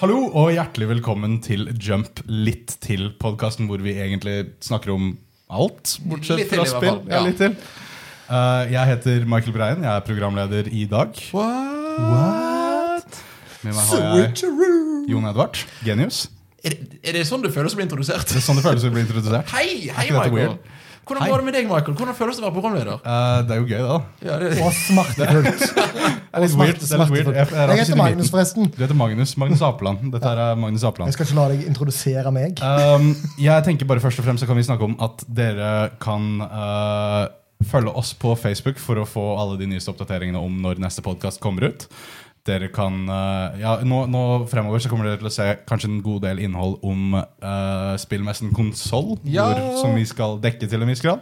Hallo og hjertelig velkommen til Jump litt til, podkasten hvor vi egentlig snakker om alt, bortsett Litt til fra i hvert spill. fall, Ja, ja. litt til. Eh, jeg heter Michael Breien, jeg er programleder i dag. Ah. What? Med meg har jeg Jon Edvard, genius. Er, det- er det sånn det føles å bli introdusert? Det er sånn det føles å bli introdusert. Hei, hei, ikke dette Michael. weird? Hvordan Hei. går det med deg, Michael? Hvordan føles det å være programleder? Eh, det er jo gøy, det, da. Ja, det, Og smertefullt. Det er litt weird. Det er litt weird. Jeg, jeg, Jeg heter Magnus, forresten. forresten. Du heter Magnus. Magnus Apeland. Dette her er Magnus Apeland. Jeg skal ikke la deg introdusere meg. Um, jeg tenker bare først og fremst så kan vi snakke om at dere kan uh, følge oss på Facebook for å få alle de nyeste oppdateringene om når neste podkast kommer ut. Dere kan, uh, ja, nå, nå fremover så kommer dere til å se kanskje en god del innhold om uh, spillmessen konsoll, Ja. hvor- som vi skal dekke til en viss grad.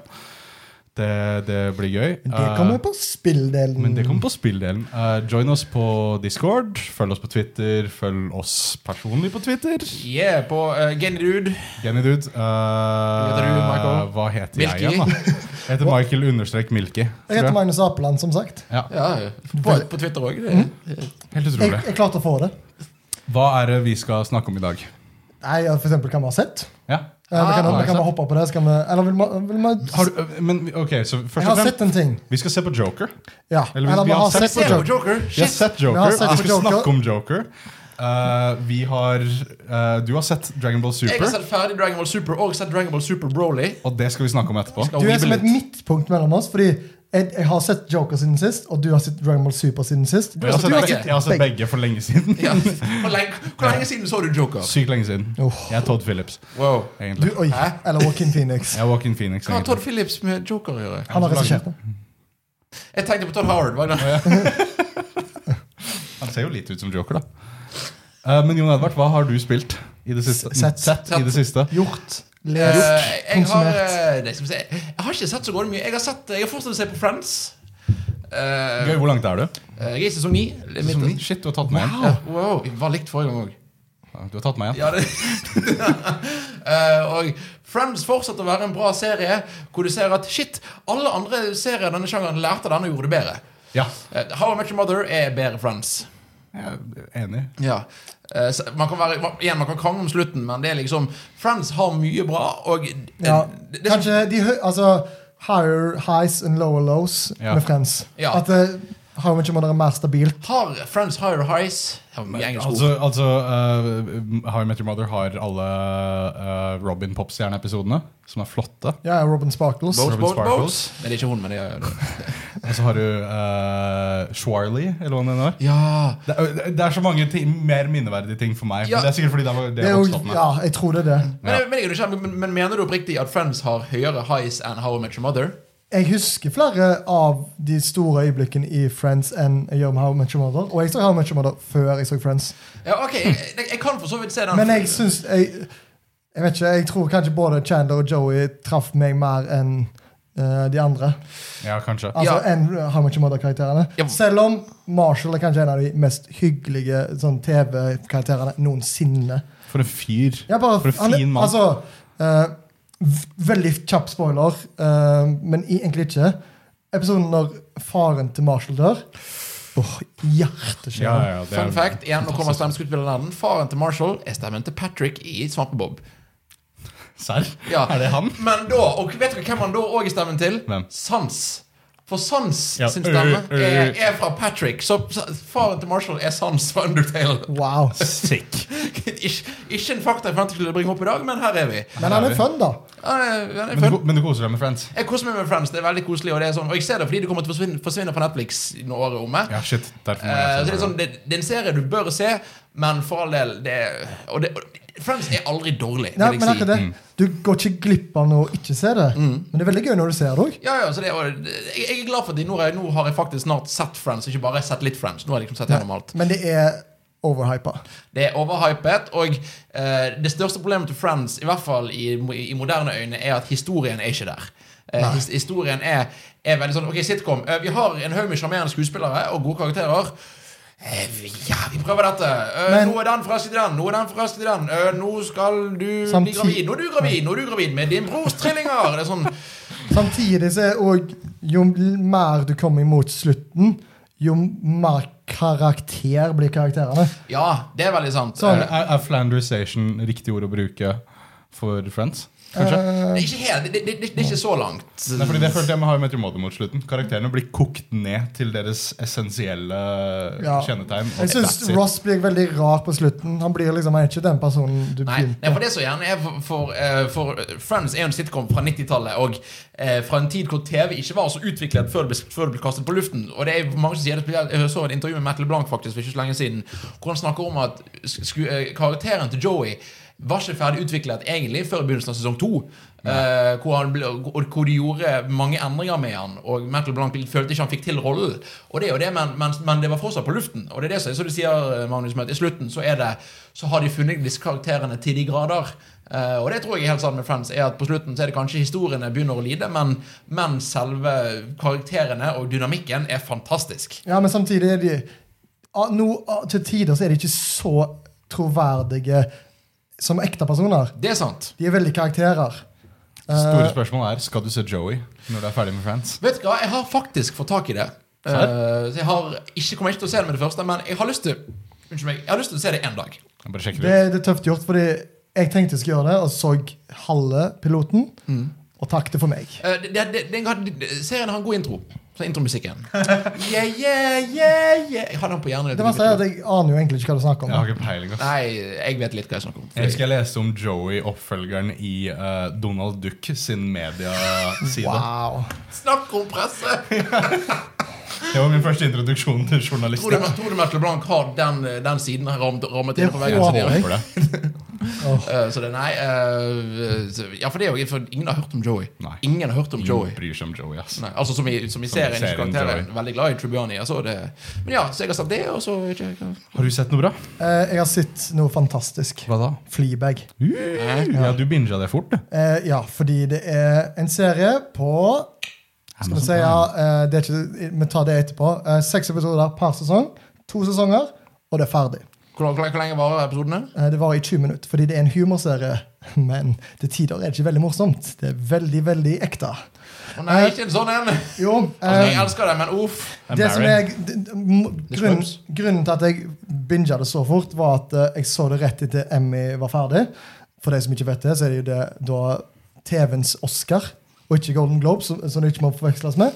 Det, det blir gøy. Det Uh, kommer på spilldelen. men det kommer på spilldelen. Uh, join oss på Discord, følg oss på Twitter, følg oss personlig på Twitter. yeah, på uh, Genidude. Jenny Dude. eh, heter du, Michael? hva heter Milky? jeg igjen, da? Jeg heter Michael understrek Milky. Jeg heter tror jeg. Magnus Apeland, som sagt. Ja, Mm-hmm. Ja, på, på Twitter òg. Helt Jeg, utrolig. jeg klarte å få det. Hva er det vi skal snakke om i dag? Nei, ja, for eksempel kan vi ha sett. Ja. Eh, Vi kan, Ah, vi kan sant. hoppe på det. Så kan vi, eller vil man, vil man, Har du, eh, men ok, så jeg først og har fremst sett en ting. Vi skal se på Joker. Ja. Eller vi- vi har sett på Se på Joker. Joker. Vi har Shit. sett Joker. Vi har sett vi på skal Joker. snakke om Joker. Eh, vi har eh, Du har sett Dragon Ball Jeg har Super, sett ferdig Dragon Ball Super og sett Dragon Ball Super Broly. og det skal vi snakke om etterpå. Skal Du er weebe som et litt. midtpunkt mellom oss, fordi jeg, jeg har sett Joker siden sist, og du har sett Dragon Ball Super siden sist. Jeg har sett Du har begge, sett jeg har sett begge for lenge siden. Ja. Hvor lenge, hvor lenge siden så du Joker? Sykt lenge siden. Uff. Jeg er Todd Phillips, Wow. Du, egentlig. oi, Hæ? eller Joaquin Phoenix. Jeg er Walking Phoenix. Hva har egentlig. Todd Phillips med Joker å gjøre? Han har regissert det. Jeg tenkte på Todd Howard. Hva er det? Eh, Han ser jo litt ut som Joker, da. Eh, men Jon Edvard, hva har du spilt i det siste? S- sett. i det siste. Gjort, Eh, lest, jeg, har, konsumert. eh, nei, skal vi se. jeg har ikke sett så godt mye. Jeg har, sett, jeg har fortsatt å se på Friends. Eh, Gøy, hvor langt er du? eh, jeg er i sesong ni. Sesong ni? Shit, du har tatt meg igjen. Ja, wow, det var likt forrige gang òg. Ja, Du har tatt meg igjen. Ja, det- Eh, og Friends fortsetter å være en bra serie hvor du ser at shit, alle andre serier i denne sjangeren lærte denne og gjorde det bedre. Ja. Eh, How I Met Your Mother er bedre Friends. Jeg er enig. Ja. Eh, så man kan være, man- igjen, man kan krangle om slutten, men det er liksom Friends har mye bra, og eh, Ja, det, sånn- det, kanskje de hø- altså, higher highs and lower lows Ja. med Friends. Ja. At uh, How Much Mother er mer stabilt. sånn, Har Friends Higher Highs Det var mye engelsk ord. Altså, altså eh, How I Met Your Mother har alle eh, Robin Pop-stjerneepisodene, som er flotte. Ja, Robin Sparkles. Boats, Robin boats, Sparkles. boats. Nei, det er ikke hun, men det er Og så har du uh, Schwarley, eller hva den er. Ja. Det er, det er så mange ting, mer minneverdige ting for meg. Ja. Men det er sikkert fordi det var det Det er jeg jo, vokste opp med. ja, jeg tror det er det. Men, jeg- men, jeg er nysgjerrig, men, men mener du oppriktig at Friends har høyere highs enn How I Met Your Mother? Jeg husker flere av de store øyeblikkene i Friends enn jeg gjør med How Much Mother. Og jeg så How Much Mother før jeg så Friends. Ja, ok, jeg, jeg, jeg kan for så vidt se den. Men jeg syns jeg, jeg vet ikke, jeg tror kanskje både Chandler og Joey traff meg mer enn eh, de andre. Ja, kanskje. Altså Ja. enn How Much Mother-karakterene. Ja. Selv om Marshall er kanskje en av de mest hyggelige sånn, TV-karakterene noensinne. For en fyr. Ja, bare, For en han er- fin mann. Altså, eh, v- veldig kjapp spoiler, eh, men i- egentlig ikke. Episoden når faren til Marshall dør Åh, hjerteskjæren. Ja, ja, det er- Fun fact, igjen, nå kommer stemmeskuespilleren Faren til Marshall er stemmen til Patrick i Svampebob. Serr? Ja. Er det han? Men da, og vet dere hvem han da òg er stemmen til? Hvem? Sans. For Sans Ja. sin stemme Øh, øh. er, er fra Patrick. Så så faren til Marshall er Sans fra Undertale. Wow. Sick. ikke, ikke en fakta jeg fant jeg skulle bringe opp i dag, men her er vi. Men han er fun, da. Han er, han er Men du, fun. men du koser deg med Friends? Jeg koser meg med Friends. Det er veldig koselig. Og det er sånn, og jeg ser det fordi det kommer til å forsvinne, forsvinne på Netflix nå året omme. Ja, shit. Derfor må Eh, så jeg det, er se sånn, det, det er en serie du bør se, men for all del det, og det, og Friends er aldri dårlig. Nei, vil men jeg akkurat si. Mm. det. Du går ikke glipp av noe å ikke se det. Men det er veldig gøy når du ser det òg. Ja, ja, så det, og, jeg, jeg er glad for at nå, har jeg- nå har jeg faktisk snart sett Friends, ikke bare sett litt Friends. Nå har jeg liksom sett gjennom alt Men det er overhypa. Det er overhypet, og eh, det største problemet til Friends, i hvert fall i, i moderne øyne, er at historien er ikke der. Eh, Nei. his, historien er, er veldig sånn Ok, sitcom. eh, vi har en haug med sjarmerende skuespillere og gode karakterer. Eh, vi- ja, vi prøver dette. Eh, Men- nå er den forelsket i den, nå er den forelsket i den. Eh, nå skal du bli Samtid- gravid. Nå er du gravid, nå er du gravid med din brors trillinger. Det er sånn Samtidig så er òg jo mer du kommer imot slutten, jo mer karakter blir karakterene. Ja, det er veldig sant. Sånn. Eh, Er, er flanderisation riktig ord å bruke for Friends? Kanskje? eh. det, er ikke helt, det, det, det, det er ikke så langt. Nei, fordi det følte jeg med How I Met Your Mother mot slutten. Karakterene blir kokt ned til deres essensielle Ja. kjennetegn. og Jeg syns that's it. Ross blir veldig rar på slutten. Han blir liksom, han er ikke den personen du Nei, nei, begynte for det som gjerne er for, for, eh, for Friends er jo en sitcom fra 90-tallet, og eh, fra en tid hvor TV ikke var så utviklet før det ble, før det ble kastet på luften. Og det er mange som sier det, spesielt- Jeg så et intervju med Matt LeBlanc faktisk for ikke så lenge siden, hvor han snakker om at sku, eh, karakteren til Joey var ikke ferdig utviklet egentlig før begynnelsen av sesong to. eh, hvor, han ble, og hvor de gjorde mange endringer med han, og Matt LeBlanc følte ikke han fikk til rollen. Og det er jo det, men, men, men det var fortsatt på luften. Og det er det som så du sier, Magnus, med at i slutten så er det så har de funnet disse karakterene til de grader. Eh, og det tror jeg er helt sant med Friends, er at på slutten så er det kanskje historiene begynner å lide, men, men selve karakterene og dynamikken er fantastisk. Ja, men samtidig er de ah, nå, ah, Til tider så er de ikke så troverdige som ekte personer. Det er sant. De er veldig karakterer. Store Eh, spørsmål er skal du se Joey når du er ferdig med Friends. Vet du hva, jeg har faktisk fått tak i det. Eh, så jeg har ikke, kommer ikke til å se det med det første, men jeg har lyst til Unnskyld meg, jeg har lyst til å se det en dag. Jeg bare sjekker det, ut. det er tøft gjort, fordi jeg tenkte jeg skulle gjøre det, og så halve piloten. Mm. Og takk det for meg. Eh, det, det, det, den har- serien har en god intro. Så intromusikken. Yeah, yeah, yeah, yeah. Jeg har den på hjernen. Det verste er at Jeg aner jo egentlig ikke hva du snakker om. Jeg har ikke peiling. ass. Nei, jeg vet litt hva jeg snakker om. Jeg husker jeg leste om Joey, oppfølgeren i eh, Donald Duck sin mediaside. Wow. Snakk om presse! Det var min første introduksjon til Tror du, journalister. tror du Matt LeBlanc har den, eh, den siden her rammet, rammet inn Det på Jeg veggen? Så det, håper jeg. det. Åh. eh, så det nei eh, så- Ja, for det er jo for ingen har hørt om Joey. Nei. Ingen har hørt om Joey. Ingen bryr seg om Joey, ass. Nei, altså Som i, som i serien. serien Ikke karakteren. Veldig glad i Tribuni. Altså, det. Men ja, så jeg har sagt det, og så ikke, Har du sett noe bra? Eh, jeg har sett noe fantastisk. Hva da? Fleabag. Ja, du binga det fort, du. Eh, ja, fordi det er en serie på Skal vi Amazon si ja, eh, det er ikke, Vi tar det etterpå. Eh, seks episoder per sesong. To sesonger, og det er ferdig. hvor, hvor, hvor lenge varer episodene? Eh, det varer i 20 minutter, fordi det er en humorserie. Men til tider er det ikke veldig morsomt. Det er veldig, veldig ekte. Å nei, ikke en sånn en! Jo, Altså, eh, jeg elsker det, men uff. Det som Barry. jeg, d- d- m- Det grunnen, skrubs. grunnen til at jeg binga det så fort, var at eh, jeg så det rett etter Emmy var ferdig. For de som ikke vet det, så er det jo det da TV-ens Oscar, og ikke Golden Globe, som, som det ikke må forveksles med.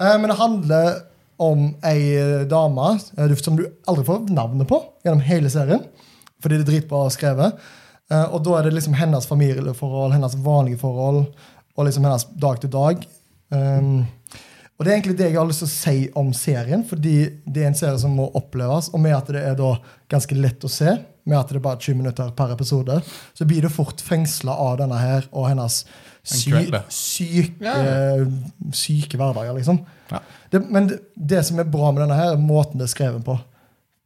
Eh, men det handler om ei eh, dame eh, du- som du aldri får navnet på gjennom hele serien, fordi det er dritbra skrevet. Eh, og da er det liksom hennes familieforhold, hennes vanlige forhold, og liksom hennes dag til dag. Um, og det er egentlig det jeg har lyst til å si om serien, fordi det er en serie som må oppleves. Og med at det er da ganske lett å se, med at det er bare 20 minutter per episode, så blir du fort fengsla av denne her og hennes sy En kveld, det. syke, Ja. syke hverdager, liksom. Ja. Det, men det, det som er bra med denne her, er måten det er skrevet på.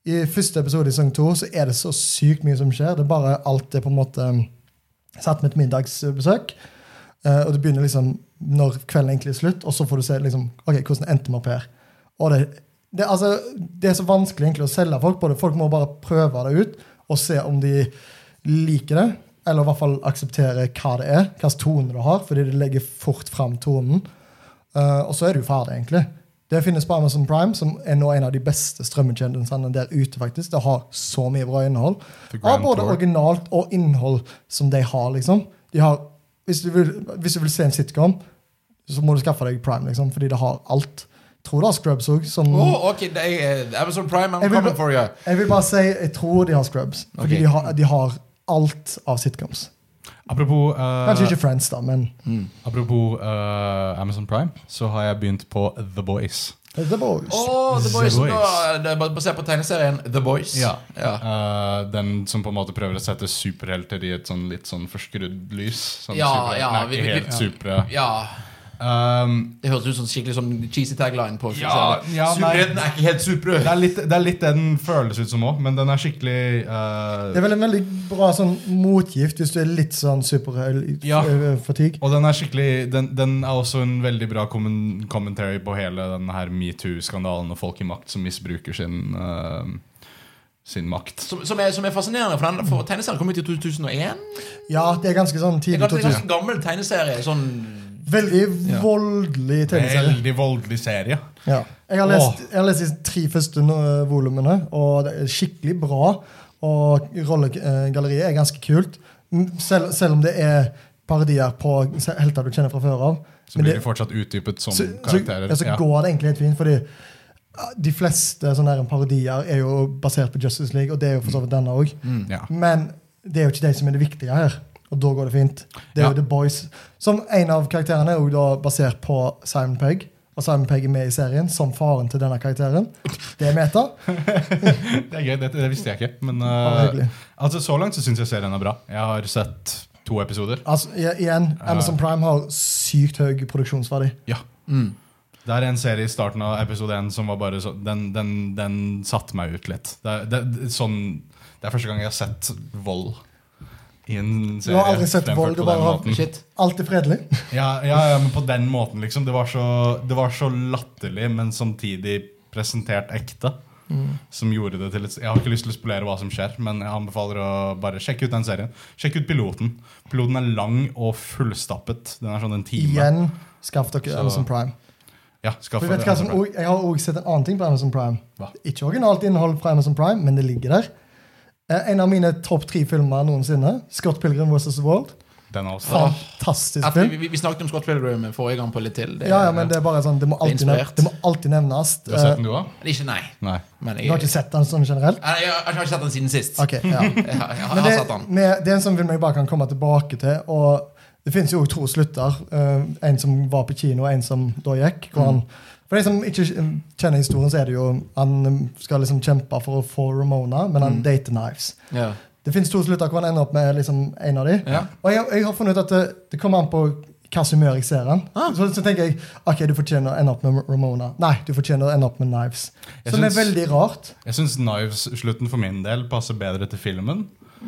I første episode i sesong to så er det så sykt mye som skjer. Det er bare alt det på en måte um, Satt med et middagsbesøk. Eh, og det begynner liksom når kvelden egentlig er slutt, og så får du se liksom, ok, hvordan endte vi opp her. Og det, det, altså, det er så vanskelig egentlig å selge folk på det. Folk må bare prøve det ut og se om de liker det, eller i hvert fall akseptere hva det er, hvilken tone det har, fordi det legger fort fram tonen. Eh, og så er du ferdig, egentlig. Det finnes på Amazon Prime, som er nå en av de beste strømmetjenestene der ute. faktisk. Det har så mye bra innhold. The Grand Av både Tour. originalt og innhold som de har, liksom. De har, hvis, du vil, hvis du vil se en sitcom, så må du skaffe deg Prime, liksom, fordi det har alt. Tror det har Scrubs òg, som Å, ok, det er eh, Amazon Prime, I'm Jeg vil coming bare- for you. Jeg vil bare si, jeg tror de har Scrubs, Ok. fordi de, har, de har alt av sitcoms. Apropos eh, Kanskje Ah. ikke Friends, da, men Mm. Apropos eh, Amazon Prime, så har jeg begynt på The Boys. The Boys. Å, The Boys. The Boys. Da, det er basert på tegneserien The Boys. ja. Ah. Eh, den som på en måte prøver å sette superhelter i et sånn litt sånn forskrudd lys. Sånn Ja, superhelt- ja, Nei, vi- ikke vi- helt ja. supre. ja. Um, Det høres ut som skikkelig sånn cheesy tagline på Ja, ja, nei. Superhelten er ikke helt superhelt. det, er litt, det er litt det den føles ut som òg, men den er skikkelig eh, Det er vel en veldig bra sånn motgift hvis du er litt sånn eh, Ja. superfatigue. Og den er skikkelig Den, den er også en veldig bra kommen- commentary på hele den her metoo-skandalen og folk i makt som misbruker sin, eh, sin makt. Som, som, er, som er fascinerende, for, den, for tegneserien kom ut i 2001. Ja, det er ganske sånn Det er tidlig ganske, ganske 2000. gammel tegneserie. Sånn Veldig Ja. voldelig TV-serie. Veldig voldelig serie. Ja. Jeg, har lest, jeg har lest de tre første eh, volumene, og det er skikkelig bra. Og rollegalleriet er ganske kult, Mm, selv, selv om det er parodier på se- helter du kjenner fra før av. Så Men blir det- de fortsatt utdypet som så, så, altså, karakterer. ja, så går det egentlig helt fint, fordi ah, de fleste sånne her parodier er jo basert på Justice League, og det er jo for så vidt denne òg. Mm. ja. Men det er jo ikke det som er det viktige her. Og da går det fint. Det er Ja. jo The Boys. Som en av karakterene er jo da basert på Simon Pegg. Og Simon Pegg er med i serien som faren til denne karakteren. Det er meta. Det er gøy, det, det visste jeg ikke. Men Bare eh, hyggelig. altså, så langt så syns jeg serien er bra. Jeg har sett to episoder. Altså, i- igjen, Amazon Prime har sykt høy produksjonsverdi. Ja. Mm. Det er en serie i starten av episode 1 som var bare så, den, den, den satte meg ut litt. Det er, det, det, sånn, det er første gang jeg har sett vold i en Du serie. har aldri sett fremført vold, du på bare den har- måten. Shit. Alt er fredelig. Ja, ja, ja, men på den måten, liksom. Det var så, det var så latterlig, men samtidig presentert ekte. Mm. Som gjorde det til et, Jeg har ikke lyst til å spolere hva som skjer, men jeg anbefaler å bare sjekke ut den serien. Sjekk ut piloten. Piloten er lang og fullstappet. Den er sånn en time. Igjen, skaff dere Så- Amazon Prime. Ja, skaff For jeg, vet hva som, og- jeg har også sett en annen ting på Amazon Prime. Hva? Ikke originalt innhold fra Amazon Prime, men det ligger der. Eh, En av mine topp tre filmer noensinne, Scott Pilgrim vs. The World. den er også. Fantastisk Etter, film. vi, vi- vi snakket om Scott Pilgrim forrige gang på litt til. Det, Ja, ja, men det er bare sånn, det må er alltid, nev inspirert. det må alltid nevnes. Du har sett Eh, den, du òg? Men Ikke nei. Nei. Men jeg, du har ikke sett den sånn generelt? Nei, jeg, har- jeg har ikke sett den siden sist. Ok, ja. Jeg, har- jeg, har Men det, sett den. med, det er en sånn film jeg bare kan komme tilbake til. Og det finnes jo også to slutter. eh, en som var på kino, og en som da Mm. gikk. Hvor han, for de som ikke kjenner historien, så er det jo han eh, skal liksom kjempe for å få Ramona, men Mm. han dater Knives. Ja. Det fins to slutter hvor han ender opp med liksom en av de. Ja. Og jeg, jeg har funnet ut at det, det kommer an på hva som gjør jeg ser den. Ah. Så, så tenker jeg ok, du fortjener å ende opp med Ramona. Nei, du fortjener å ende opp med Knives. Jeg Som er syns- veldig rart. Jeg syns Knives-slutten for min del passer bedre til filmen.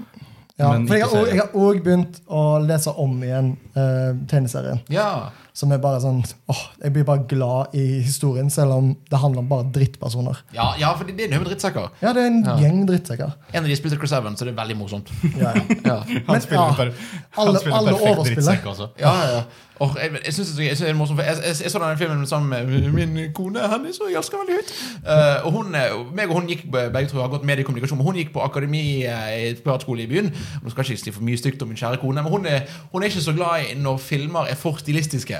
Ja, Men for jeg ikke har, også- serien. jeg har også begynt å lese om igjen eh, tegneserien. ja. Som er bare sånn åh, Jeg blir bare glad i historien, selv om det handler om bare drittpersoner. ja, ja for det, det er noe med drittsekker. Ja, det er en Ja. gjeng drittsekker. En av de spilte Chris Evans, så det er veldig morsomt. Ja, ja. Ja, Han Men, spiller, ja, per, han alle- spiller alle perfekt overspiller. drittsekk også. ja, ja. Og jeg, jeg synes det, jeg synes det er morsomt for jeg, jeg, jeg så denne filmen sammen med min kone Henny, som jeg elsker veldig høyt. Eh, og hun, eh, meg og hun gikk begge tror jeg har gått mediekommunikasjon, men hun gikk på akademi eh, i et privatskole i byen. Nå skal jeg ikke si for mye stygt om min kjære kone, men hun er, hun er ikke så glad i når filmer er for stilistiske.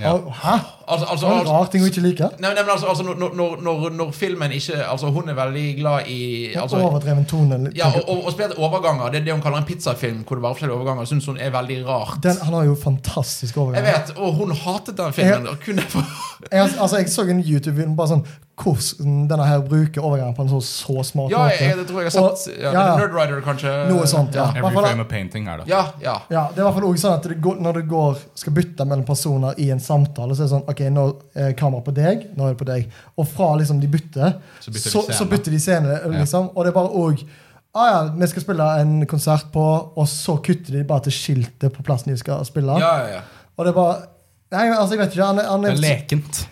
Ja. Og, hæ? Altså, altså, Det er en altså, rar ting hun ikke liker. nei, nei, men altså, altså når, når, når, når filmen ikke Altså, hun er veldig glad i altså, Overdreven tone. litt- Ja, og, og, og spesielt overganger. Det er det hun kaller en pizzafilm. Hvor det var forskjellige overganger Synes hun er veldig rart. den, han har jo fantastisk overgang. Jeg vet, Og hun hatet den filmen. Og kunne få Jeg, altså, jeg så en YouTube-video bare sånn hvordan denne her bruker overgangen på en så, så smart Ja, måte. jeg, jeg, det tror jeg jeg har Og- sett. Ja, ja, ja. Nerdrider, kanskje. Noe sånt, ja. Every Hvertfall- frame of painting er det. Ja, ja. Ja, det er i hvert fall også sånn at det går, Når du går, skal bytte mellom personer i en samtale, så er det sånn OK, nå er kameraet på deg, nå er det på deg. Og fra liksom de bytter, Så bytter de så, scene. så bytter de scene. Liksom, Og det er bare òg Ah, ja, vi skal spille en konsert på, og så kutter de bare til skiltet på plassen de skal spille. Ja, ja, ja. Og det er bare Nei, altså, jeg vet ikke. Han, er- han Det er, er lekent.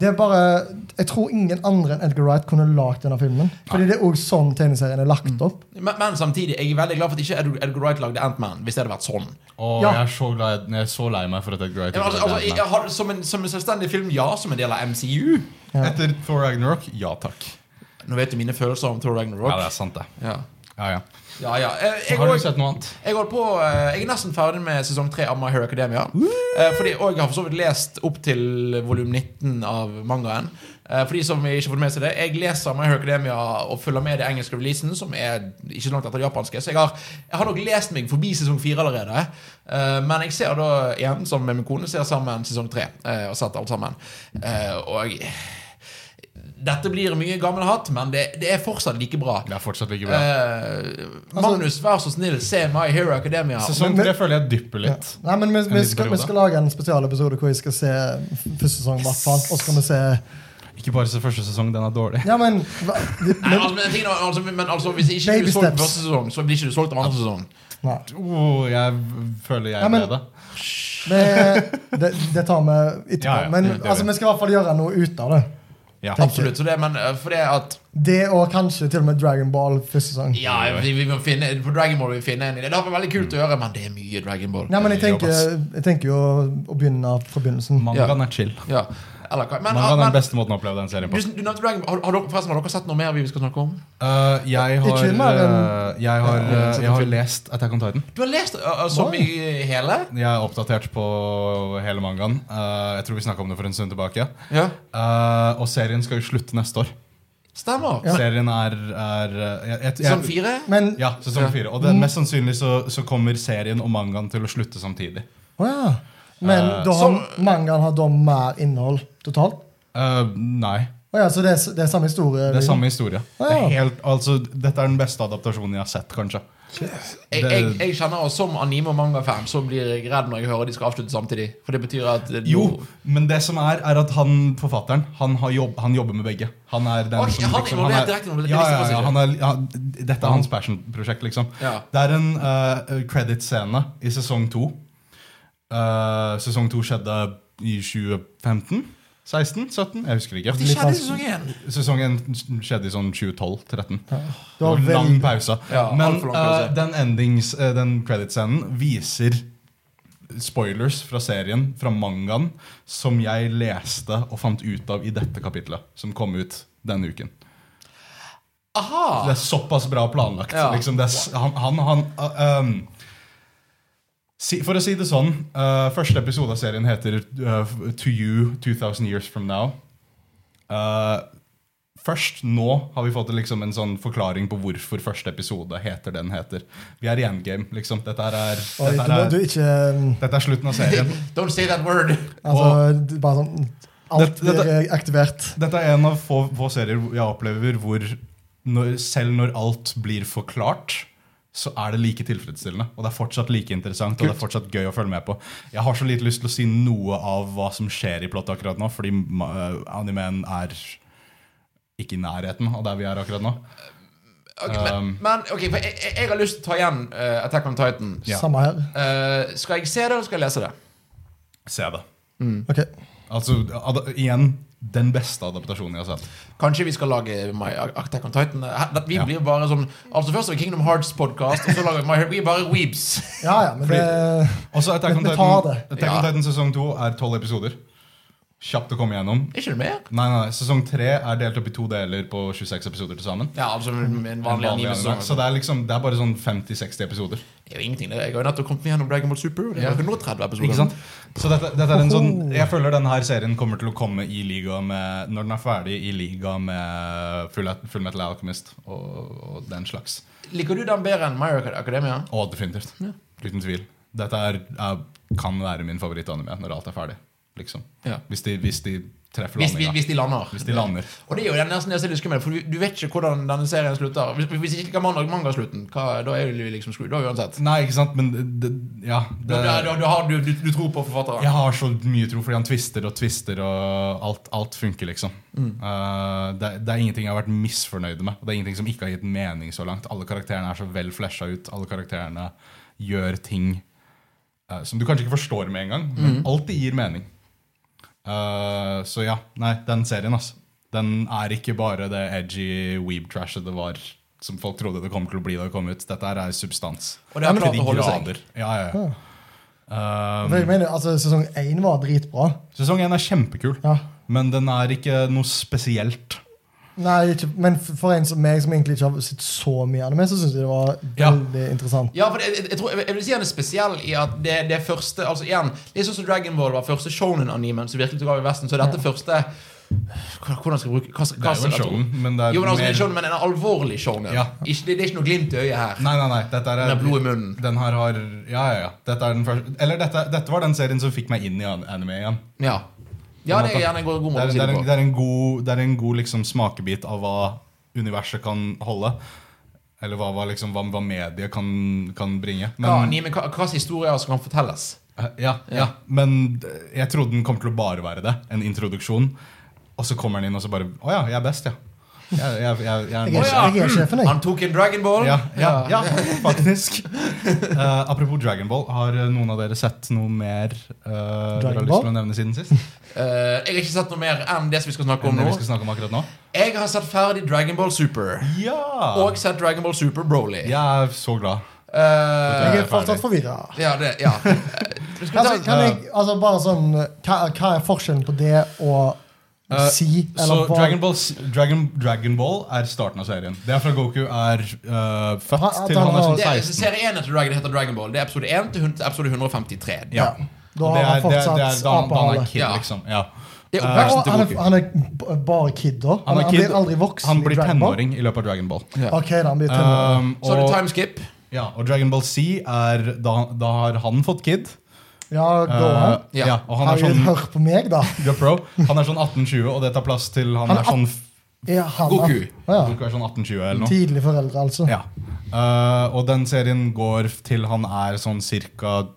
det er bare Jeg tror ingen andre enn Edgar Wright kunne lagd denne filmen. Fordi det er òg sånn tegneserien er Mm. lagt opp. Men, men samtidig, jeg er veldig glad for at ikke Edgar Edgar Wright lagde Ant-Man. Hvis det hadde vært sånn. Og Ja. jeg er så glad Jeg er så lei meg for at Edgar Wright Ja, men Altså, altså, jeg, jeg har, som, en, som en selvstendig film, ja. Som en del av MCU. Ja. Etter Thor Ragnarok, ja takk. Nå vet du mine følelser om Thor Ja, det Ragnarok. er sant, det. Ja, Ja, ja. ja, ja. Eh, Jeg, Har og- du sett noe annet? Jeg holder på, eh, jeg er nesten ferdig med sesong 3 av My Hero Academia. Eh, Fordi, og jeg har for så vidt lest opp til volum 19 av mangaen. Eh, For de som ikke har fått med seg det Jeg leser My Hero Academia og følger med i den engelske releasen, som er ikke så langt etter det japanske. Så jeg har, jeg har nok lest meg forbi sesong 4 allerede. Eh, Men jeg ser da igjen, sammen med min kone, ser sammen sesong 3 og setter alt sammen. Eh, Og dette blir mye gammel hatt, men det, det er fortsatt like bra. Det er fortsatt like bra. Eh, Altså- Magnus, vær så snill, se My Hero Academia. Sesong men- tre føler jeg dypper litt. Nei, men vi, vi, liten skal, vi periode. skal lage en spesialepisode hvor vi skal se f- første sesong, i hvert fall. Og så skal vi se Ikke bare se første sesong, den er dårlig. Ja, men, hva, de, Nei, men altså, men, tingen er, altså, men altså, hvis ikke Baby du er solgt steps. første sesong, så blir ikke du solgt av andre sesong. nei. Oh, jeg v- føler jeg Ja, ble men- det. Det, det, det tar vi etterpå. Ja, ja, men det- det altså, vet. vi skal i hvert fall gjøre noe ut av det. Ja. Tenk- Absolutt. Så det, men eh, for det at Det og kanskje til og med Dragon Ball første sesong. Ja, vi, vi må finne, på Dragon Ball vil vi finne en idé. Det hadde vært veldig kult å gjøre, men det er mye Dragon Ball. Nei, men jeg tenker, Jobbas. jeg tenker jo å begynne fra begynnelsen. Mangaen Ja. er chill. Ja. Eller hva? Men, Mangaen er den men beste måten å oppleve den serien du, på. du nevnte Dragon Ball. Har, har, dere- forresten, har dere sett noe mer vi skal snakke om? Eh, jeg har, Ikke mer enn- eh, jeg, har Ja, eh, så jeg har film. lest Attack on Titan. Du har lest uh, så Oi. mye hele? Jeg er oppdatert på hele mangaen. Eh, jeg tror vi snakka om det for en stund tilbake. Ja. Eh, og serien skal jo slutte neste år. Stemmer. Ja. Serien er, er eh, jeg, jeg, Sesong jeg, fire? Men Ja, sesong fire. Og det, Mm. mest sannsynlig så, så kommer serien og mangaen til å slutte samtidig. Å ja. Men Eh, da har som- mangaen har da mer innhold totalt? Eh, nei. Å ja, så det er, det er samme historie? Det er samme historie. Ja. Det er helt, altså, dette er den beste adaptasjonen jeg har sett, kanskje. Jeg, Det- jeg, jeg kjenner oss som anime- og mangafan, så blir jeg redd når jeg hører de skal avslutte samtidig. For det betyr at eh, Jo, nå- men det som er, er at han forfatteren han, har jobb, han jobber med begge. Han er den Oi, som han er liksom, involvert er- direkte nå, det ja, visste jeg ja, ja, faktisk han er, ja, Dette er hans passion-prosjekt, liksom. Ja. Det er en uh, credit-scene i sesong to. Eh, sesong to skjedde i 2015? 16? 17? Jeg husker ikke. Det skjedde i sesong én! Sesongen skjedde i sånn 2012-13. Det var Lang vel- pause. Ja, Men altfor lang pause. eh, den endings, eh, den credit-scenen viser spoilers fra serien, fra mangaen, som jeg leste og fant ut av i dette kapitlet, som kom ut denne uken. Aha! Det er såpass bra planlagt. Ja. Liksom det er, s- han, han, han eh, um, si, For å si det sånn, eh, første episode av serien heter eh, To You 2000 Years From Now. Eh, først nå har vi fått liksom en sånn forklaring på hvorfor første episode heter den heter. Vi er i endgame, liksom. Dette her er, Oi, dette du, her må- du er, ikke um, dette er slutten av serien. Don't say that word! Altså, du- bare sånn Alt Dette- dette- blir eh, aktivert. Dette er en av få, få serier hvor jeg opplever hvor når, selv når alt blir forklart, så er det like tilfredsstillende. Og det er fortsatt like interessant og det er fortsatt gøy å følge med på. Jeg har så lite lyst til å si noe av hva som skjer i plottet akkurat nå, fordi ma- animeen er ikke i nærheten av der vi er akkurat nå. Ok, men, men ok, for jeg, jeg, jeg har lyst til å ta igjen eh, Attack on Titan. Ja. Samme her. Eh, skal jeg se det, eller skal jeg lese det? Se det. Ok. Altså, ad, igjen, den beste adaptasjonen jeg har sett. Kanskje vi skal lage My Attack on Titan? Her- at Vi Ja. blir bare sånn Altså Først har vi Kingdom Hearts-podkast, og så lager vi My Vi er bare weebs. Ja, ja, men det Også Attack on Vi- vi Titan, tar det. Attack on Ja. Titan sesong to er tolv episoder. Kjapt å komme gjennom. Er ikke det mer? Nei, nei, nei, sesong tre er delt opp i to deler på 26 episoder til sammen. Ja, altså en vanlig altså. En vanlig anime. Så anime-sesong. det er liksom, det er bare sånn 50-60 episoder. Det er jo ingenting. det. Jeg har jo nettopp kommet meg gjennom Dragon Ball Super. og Det er Ja. 130 episoder. Ikke sant? Så dette, dette er en sånn Jeg føler denne her serien kommer til å komme i liga med Når den er ferdig i liga med Full, full Metal Alchemist og, og den slags. Liker du den bedre enn My Academia? Og definitivt. Uten tvil. Dette er, er, kan være min favorittanime når alt er ferdig. Liksom. Ja. Hvis, de, hvis de treffer Hvis, hvis, landinga. hvis de lander. Hvis de lander. Og det er jo den nesten det jeg husker med det, for du, du vet ikke hvordan denne serien slutter. Hvis, hvis ikke kan manga, manga slutten, hva, da er du liksom screwed. Da uansett. Nei, ikke sant, men det, Ja. Da, da, da, da har du, du, du tror på forfatteren. Jeg har så mye tro, fordi han twister og twister, og alt, alt funker, liksom. Mm. Eh, det, det er ingenting jeg har vært misfornøyd med. Og det er ingenting som ikke har gitt mening så langt. Alle karakterene er så vel flesha ut. Alle karakterene gjør ting eh, som du kanskje ikke forstår med en gang, men Mm. alltid gir mening. Eh, så ja, nei, den serien, altså. Den er ikke bare det edgy weeb-trashet det var som folk trodde det kom til å bli da det kom ut. Dette her er substans. Og det har Til klart de å holde grader. Ja, ja, ja. Eh, for jeg mener, altså, Sesong én var dritbra. Sesong 1 er kjempekul, Ja. men den er ikke noe spesielt. Nei, ikke, men f- for en som meg, som egentlig ikke har sett så mye anime, så syns jeg det var Ja. veldig interessant. Ja, for jeg, jeg, jeg, tror, jeg, jeg vil si han er spesiell i at det, det første Altså igjen, Litt sånn som Dragon Ball var første shonen-animen som virkelig tok av i Vesten, så er dette første Hvordan skal jeg bruke hva, Det hva, er jo en shonen, men det er Jo, men, altså, en mer shonen, men en alvorlig shonen. Ja. Ikke, det, det er ikke noe glimt i øyet her. Nei, nei, nei. Dette er, Med blod i munnen. Den her har Ja, ja, ja. Dette, er den første, eller dette, dette var den serien som fikk meg inn i an- anime igjen. Ja. ja, det er gjerne en god god Det er, måte å det si er, det en, på. det er en god, det er en god liksom, smakebit av hva universet kan holde. Eller hva, hva, liksom, hva, hva mediet kan, kan bringe. Men, ja, Nime, hva, hva slags historier som kan fortelles? Eh, Ja, ja. Men d- jeg trodde den kom til å bare være det. En introduksjon. Og så kommer den inn og så bare Å ja, jeg er best, ja. Jeg, jeg, jeg, jeg, Jeg er, Å, ja. jeg er sjefen, jeg. Han tok en Dragonball. ja, ja, ja, faktisk. Eh, apropos Dragonball, har noen av dere sett noe mer eh, dere har lyst til Ball? å nevne siden sist? Eh, jeg har ikke sett noe mer enn det som vi skal snakke om Enn det nå. vi skal snakke om akkurat nå? Jeg har sett ferdig Dragonball Super. Ja! Og sett Dragonball Super Broly. jeg er så glad. Eh, Jeg jeg er er fortsatt forvirra. ja, det, ja. Skal vi Altså, ta- kan jeg, altså bare sånn, hva, hva er forskjellen på det og Eh, si? Så Eller hva- Dragon Ball, s- Dragon, Dragon Ball er starten av serien. Det er fra Goku er eh, født at til han han er har- sånn det er, 16. serie 1 etter Dragon heter Dragonball. Det er episode 1 til hun- til episode 153. Ja. Da har han det er, fortsatt det er, da han- da han apehale. er kid, Ja. liksom. Ja. Det er Ja, oppveksten og til han, Goku. er, han er b- bare kid, da? Han, Han er han kid. blir aldri voksen? Han i blir Dragon Ball? tenåring i løpet av Dragon Ball. Ja. Ok, da, han blir tenåring. Um, Så er det og, timeskip. ja, og Dragon Ball C er Da, da har han fått kid. ja, gå Eh, an. ja. og han er Herregud, sånn hør på meg, da. Du er pro. Han er sånn 18-20, og det tar plass til han, Han er er sånn Ja, han, Goku. Ja. Goku er sånn 18-20 eller noe. Tidlig foreldre, altså. Ja. Eh, og den serien går til han er sånn ca.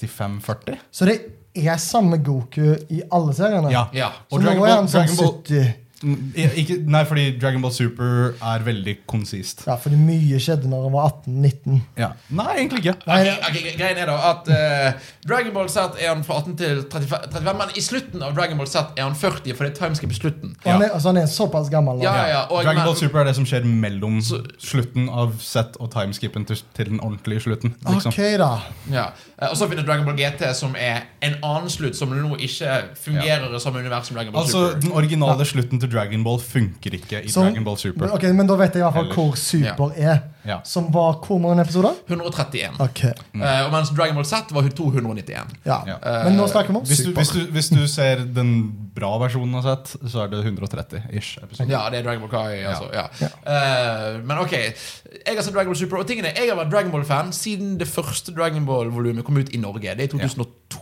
35-40. Så det er samme Goku i alle seriene? Ja. Ja. Så Og nå Dragon er Ball, han sånn Dragon Ball 70. Mm, ikke, Nei, fordi Dragon Ball Super er veldig konsist. Ja, fordi mye skjedde når han var 18-19. Ja. Nei, egentlig ikke. Nei, Ok, ok, Greien er da at eh, Dragon Ball Z er han fra 18 til 35, 35, men i slutten av Dragon Ball Z er han 40, for det er timeskip i slutten. og han er, altså, han er såpass gammel. Ja, Da. ja, ja. Og, Dragon men, Ball Super er det som skjer mellom Så- slutten av set og timeskippen til, til den ordentlige slutten. Liksom. Ok, da. ja. Eh, og så finner Dragon Ball GT, som er en annen slutt, som nå ikke fungerer som univers som Dragon Ball Altså, Super. Den originale slutten til Dragon Ball funker ikke i Så- Dragon Ball Super. Ok, Men da vet jeg i hvert fall Eller- hvor Super er. Ja. Som var hvor mange episoder? 131. Ok, Eh, og mens Dragon Ball Z var 291. ja. Ja. Eh, Men nå snakker vi om Hvis du, Super. hvis, du, hvis du ser den bra versjonen av sett, så er det 130-ish. episoder. Ja, det er Dragon Ball Kai. Altså. Ja. Eh, men ok, jeg har sett Dragon Ball Super. Og tingene, Jeg har vært Dragon Ball-fan siden det første Dragon Ball-volumet kom ut i Norge. Det er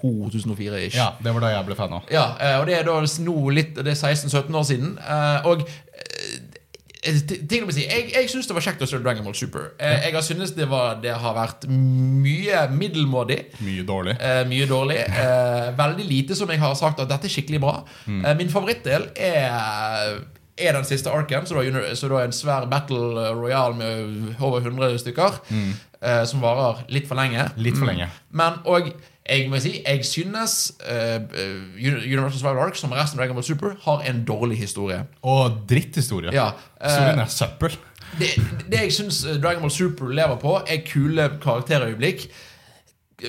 2002-2004-ish. Ja, det var da jeg ble fan av. Ja, eh, og det er da s- nå litt Det er 16-17 år siden. eh, Og eh, t- ting å si, jeg, jeg syns det var kjekt å se Dragon Ball Super. Eh, Jeg har syntes det, var, det har vært mye middelmådig. Mye dårlig. Eh, mye dårlig. Eh, veldig lite som jeg har sagt at dette er skikkelig bra. Eh, min favorittdel er er den siste arken, så da, er uni- så da er en svær battle royal med over 100 stykker. eh, som varer litt for lenge. Litt Mm. for lenge. Men og jeg må si, jeg synes eh, eh, Universal Survival Arc, som resten av Dragon Ball Super, har en dårlig historie. Og dritthistorie. Ja, eh, Historien er søppel. det, det jeg syns Dragon Ball Super lever på, er kule karakterøyeblikk.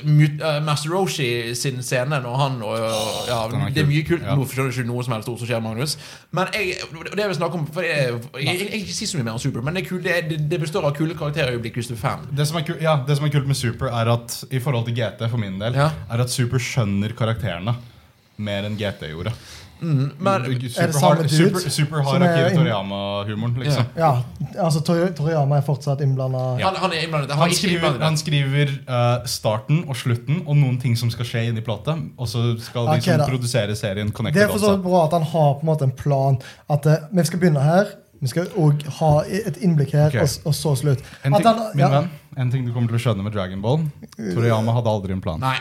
Mut- eh, Master Roshi sin scene når han og, og ja, Den er Det er kul. mye kult. Ja. Nå skjønner jeg ikke noe som helst ord som skjer, Magnus. Men jeg, og det jeg vil snakke om for jeg, jeg, jeg, jeg, vil ikke si så mye mer om Super, men det, er kul, det, er- det består av kule karakterøyeblikk hvis du er fan. Det som er, kul, ja, det som er kult med Super, er at i forhold til GT for min del, Ja. er at Super skjønner karakterene mer enn GT gjorde. Men Super samme har, dude super, super har som er Akira inn- Toriyama-humoren, liksom. Ja, altså Tor- Toriyama er fortsatt innblanda. Ja. han, han er innblandet. Han, Han er ikke skriver, innblandet. han skriver eh, starten og slutten og noen ting som skal skje inni plata. Og så skal de Ok, som da. produserer serien, Det connecte er for sånn- så data. vidt bra at han har på en måte en plan. At eh, vi skal begynne her, vi skal òg ha et innblikk her, Ok. og, s- og så slutt. En At ting, han, min venn, en ting du kommer til å skjønne med Dragon Ball Toriyama hadde aldri en plan. Nei.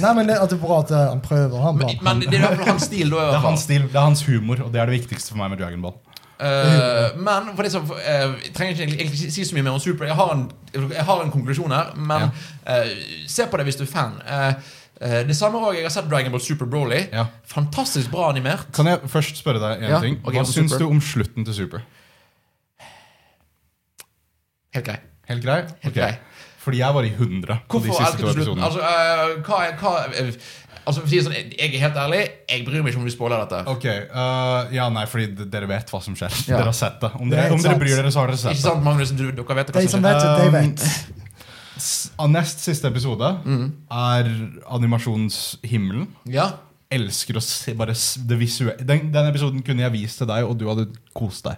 Nei, men det, at det er bra at eh, han prøver å ha en Men, plan. men det er i hvert fall hans stil. Da, i Det er hvert fall. hans stil, det er hans humor, og det er det viktigste for meg med Dragon Ball. Eh, men for det som, eh, jeg trenger ikke egentlig ikke si så mye mer om Super. Jeg har en, jeg har en konklusjon her, men eh, se på det hvis du er fan. Eh, eh, det samme òg. Jeg har sett Dragon Ball Super Broly. Ja. Fantastisk bra animert. Kan jeg først spørre deg en Ja, ting? ok, Hva om syns Super. du om slutten til Super? Helt grei. Helt grei? Helt Ok. grei. Fordi jeg var i 100 på de Hvorfor siste elsker to du slutten? episodene. Altså, eh, hva, er- hva eh, Altså, for å si det sånn, jeg jeg er helt ærlig, jeg bryr meg ikke om du spoiler dette. Ok, øh, Ja, nei, fordi d- dere vet hva som skjer. Ja. Dere har sett det. Om Det dere, er helt om dere sant. bryr dere, så har dere Ikke sett det. sant, Magnus? Du, dere vet hva altså, De som som skjer. vet, um, det, sånn de vet. S- av Nest siste episode er animasjonshimmelen. Ja. Elsker å se bare s- det visuelle. Den, den episoden kunne jeg vist til deg, og du hadde kost deg.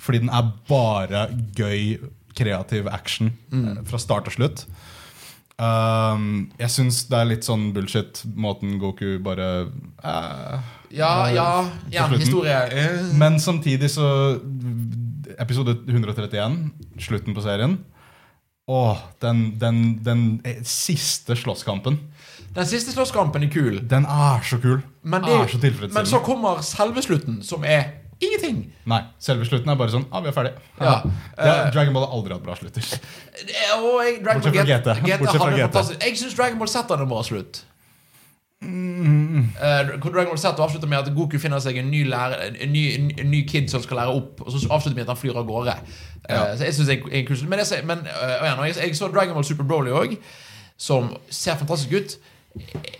Fordi den er bare gøy, kreativ action eh, fra start til slutt. Um, jeg syns det er litt sånn bullshit, måten Goku bare eh, Ja, ja, ja, slutten. historie eh, Men samtidig så Episode 131, slutten på serien. Åh, den, den, den eh, siste slåsskampen. Den siste slåsskampen er kul. Den er så kul. Men, er Ah, så det, men tilfredsstillende. så kommer selve slutten, som er Ingenting! Nei, selve slutten er bare sånn ah, vi er ferdig. Ja, Ja, eh, Dragon Ball har aldri hatt bra slutter. Det er- Og jeg, Dragon Bortsett fra Ball GT. Bortsett fra hadde en GT. fantastisk- Jeg syns Dragon Ball Z hadde en bra slutt. Mm. Eh, hvor Dragon Ball Z avslutter med at Goku finner seg en ny, lærer, en ny, en ny- en ny kid som skal lære opp, og så avslutter med at han flyr av gårde. Eh, Ja. Så jeg synes jeg, jeg, kusel- Men, jeg, ser- men eh, og igjen, og jeg, jeg så Dragon Ball Super Broly òg, som ser fantastisk ut.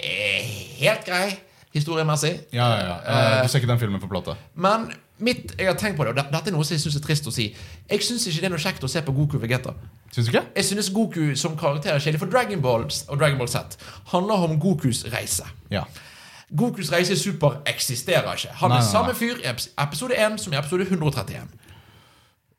Eh, Helt grei historiemessig. Ja, ja, ja. Eh, du ser ikke den filmen på plata. Men mitt, jeg har tenkt på det, og det- dette er noe som jeg synes er trist å si. Jeg syns ikke det er noe kjekt å se på Goku og Vegeta. Syns du ikke? Jeg synes Goku som karakter er kjedelig, for Dragon Ball og Dragon Ball Z handler om Gokus reise. Ja. Gokus reise i Super eksisterer ikke. Han Nei, er nei, samme nei. fyr i eps- episode 1 som i episode 131.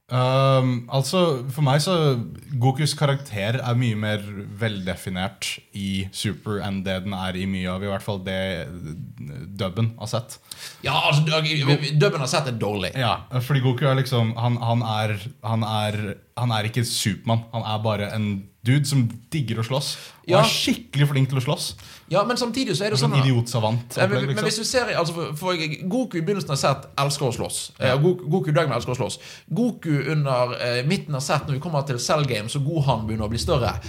Ehm, altså, for meg så Gokus karakter er mye mer veldefinert i Super enn det den er i mye av i hvert fall det dubben har sett. Ja, altså, dub- dubben har sett er dårlig. Ja, fordi Goku er liksom Han, han, er, han, er, han er ikke Supermann. Han er bare en dude som digger å slåss. Og Ja. er skikkelig flink til å slåss. Ja, men samtidig så er det Sånn sånn idiotsavant. Ja, Men, opplegg, men liksom. hvis du ser altså, for, for jeg- Goku i begynnelsen av Zet elsker å slåss. Eh, og Goku, Goku i Dagmar elsker å slåss. Goku under eh, midten av Zet, når vi kommer til Cell Games og Gohan begynner å bli større,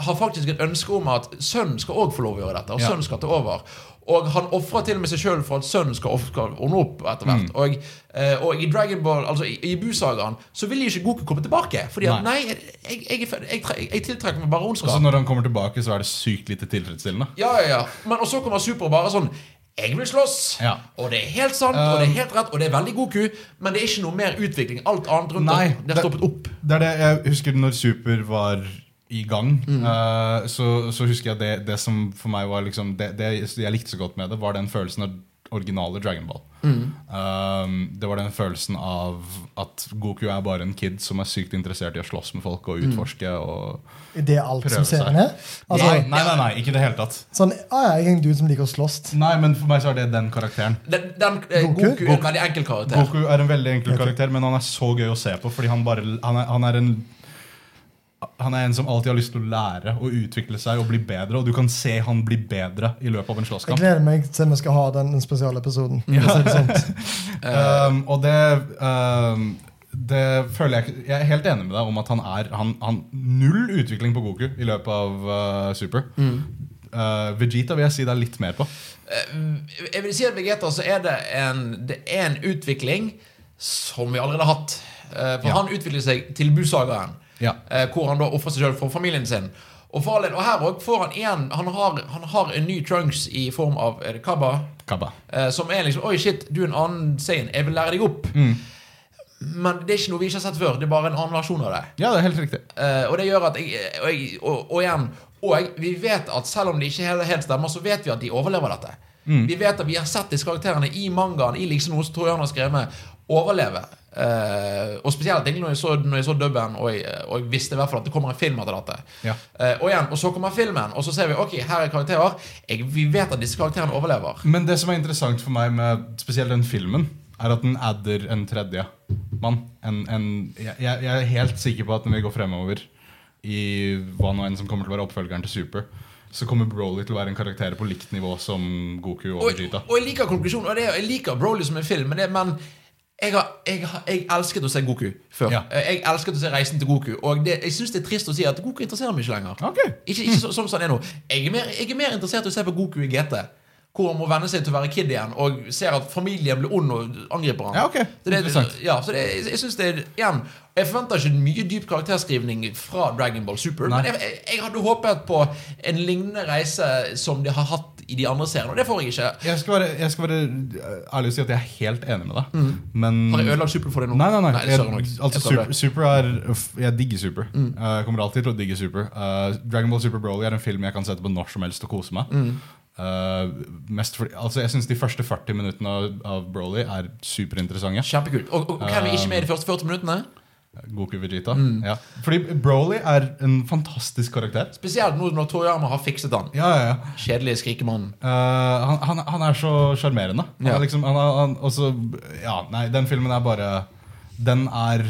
har faktisk et ønske om at sønnen skal òg få lov å gjøre dette. Og Ja. sønnen skal ta over. Og han ofrer til og med seg sjøl for at sønnen skal of- skal ordne opp etter hvert. Mm. Og, eh, og i Dragon Ball, altså i, i Busagaen så vil ikke Goku komme tilbake. Fordi at nei, jeg, jeg, er fe- jeg, tre- jeg tiltrekker meg bare ondskap. Så når han kommer tilbake, så er det sykt lite tilfredsstillende. Ja, ja, ja. Men og så kommer Super og bare sånn Jeg vil slåss! Ja. Um. Og det er helt sant, og det er helt rett, og det er veldig Goku, men det er ikke noe mer utvikling. Alt annet rundt Nei, det, det er det- stoppet opp. Det er det jeg husker når Super var i gang, Mm. eh, så, så husker jeg det, det som for meg var liksom det, det jeg likte så godt med det, var den følelsen av originale Dragon Ball. Mm. Um, det var den følelsen av at Goku er bare en kid som er sykt interessert i å slåss med folk Mm. og utforske. Og... Er det alt Prøve som serien seg. er? Altså, nei, nei, nei, nei, ikke i det hele tatt. sånn, ah, ja, jeg er en dude som liker å slåss. Nei, men for meg så er det den karakteren. Den, den, eh, Goku, Goku? er en veldig enkel karakter. Goku er en veldig enkel karakter, men han er så gøy å se på. Fordi han, bare, han, er, han er en Han er en som alltid har lyst til å lære og utvikle seg og bli bedre. Og du kan se han bli bedre i løpet av en Jeg slåsskamp. gleder meg til vi skal ha den spesiale episoden. for å si det sånn. Um, og det um, det føler Jeg ikke- Jeg er helt enig med deg om at han er han, han, null utvikling på Goku i løpet av uh, Super. Uh, Vegeta vil jeg si det er litt mer på. Eh, Jeg vil si at Vegeta så er det en, det er en utvikling som vi allerede har hatt. Eh, For Ja. han utvikler seg til Busagaen, Ja. eh, hvor han da ofrer seg sjøl for familien sin. Og, for all del, og her òg får han igjen Han har, han har en ny Trunks i form av er det Kabba. Kabba. Eh, som er liksom Oi, shit, du er en annen Zain. Jeg vil lære deg opp. Men det er ikke noe vi ikke har sett før. Det er bare en annen versjon av det. Ja, det er helt riktig. Eh, og det gjør at jeg, og, jeg, og, og igjen Og jeg, vi vet at selv om det ikke helt, helt stemmer, så vet vi at de overlever dette. Vi vet at vi har sett disse karakterene i mangaen, i liksom noe som Trojan har skrevet, overleve. Eh, og spesielt egentlig når jeg så, når jeg så dubben, og, jeg- eh, og jeg visste i hvert fall at det kommer en film etter dette. Ja. Eh, og igjen, og så kommer filmen, og så ser vi ok, her er karakterer. Jeg, vi vet at disse karakterene overlever. Men det som er interessant for meg med spesielt den filmen, er at den adder en tredje mann. En, en, jeg, jeg jeg er helt sikker på at når vi går fremover i hva nå enn som kommer til å være oppfølgeren til Super, så kommer Broly til å være en karakter på likt nivå som Goku og og, Vegeta. og jeg liker konklusjonen, og det, er- jeg liker Broly som en film, men, det, men jeg, har, jeg, har, jeg elsket å se Goku før. Eh, Ja. Jeg elsket å se Reisen til Goku, og det, jeg syns det er trist å si at Goku interesserer meg ikke lenger. Ok. Ikke, ikke så, sånn som han er nå. Jeg er, mer, jeg er mer interessert i å se på Goku i GT. Hvor han må venne seg til å være kid igjen og ser at familien blir ond og angriper han. Ja, ok. Så det, Interessant. ja, så det, jeg, jeg synes det er igjen, Jeg forventer ikke mye dyp karakterskrivning fra Dragon Ball Super, Nei. men jeg, jeg, jeg hadde håpet på en lignende reise som de har hatt i de andre seriene, og det får jeg ikke. Jeg skal, være, jeg skal være ærlig og si at jeg er helt enig med deg. Men Mm. Har jeg ødelagt Super for deg nå? Mm. Nei, nei, nei. det Jeg, søren også. altså, Jeg tar det. Mm. super, super er uff, Jeg digger Super. Eh, Jeg kommer alltid til å digge Super. Eh, Dragon Ball Super Broly er en film jeg kan sette på når som helst og kose meg. Mm. Eh, mest fordi- altså, jeg syns de første 40 minuttene av, av Broly er superinteressante. Kjempekult. Og, og, og hvem er ikke med i de første 40 minuttene? Goku Vegeta. Mm. Ja. Fordi Broly er en fantastisk karakter. Spesielt nå når Toriyama har fikset han. Ja, ja, ja. Kjedelige skrikemannen. Eh, han, han, han er så sjarmerende. Han Ja. er Liksom, han er- han- og så- ja, nei, den filmen er bare Den er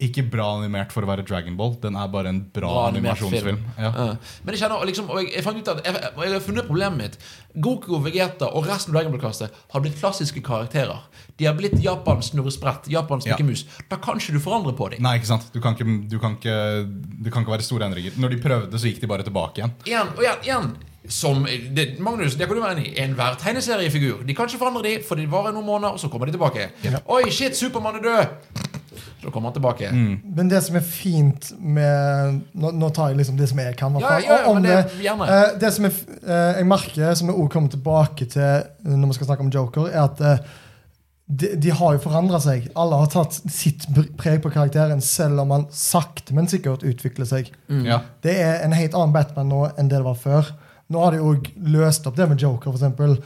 ikke bra animert for å være Dragonball. Den er bare en bra, Bra animert animasjonsfilm. film. Ja. Ja. Men jeg kjenner, og liksom, og jeg, jeg fant ut at jeg, jeg, jeg har funnet problemet mitt. Goku, Vegeta og resten av Dragon Ball-kastet har blitt klassiske karakterer. De har blitt Japans snurresprett, Japans Ja. Mikke Mus. Da kan ikke du forandre på dem. Nei, ikke sant? Du kan ikke, du kan ikke, det kan ikke være store endringer. Når de prøvde, så gikk de bare tilbake igjen. Igjen og igjen, igjen. Som det, Magnus, det kan du være enig i. Enhver tegneseriefigur. De kan ikke forandre de, for de varer noen måneder, og så kommer de tilbake. Oi, shit, Supermann er død! Så kommer han tilbake. Mm. Men det som er fint med Nå, nå tar jeg liksom det som jeg kan. i hvert Ja, fall. ja, ja, Og om men det- gjerne. eh, det som er, f- eh, jeg merker, som jeg også kommer tilbake til eh, når vi skal snakke om Joker, er at eh, de, de har jo forandra seg. Alle har tatt sitt br- preg på karakteren, selv om han sakte, men sikkert utvikler seg. Ja. Det er en helt annen Batman nå enn det det var før. Nå har de jo løst opp det med Joker, for eksempel,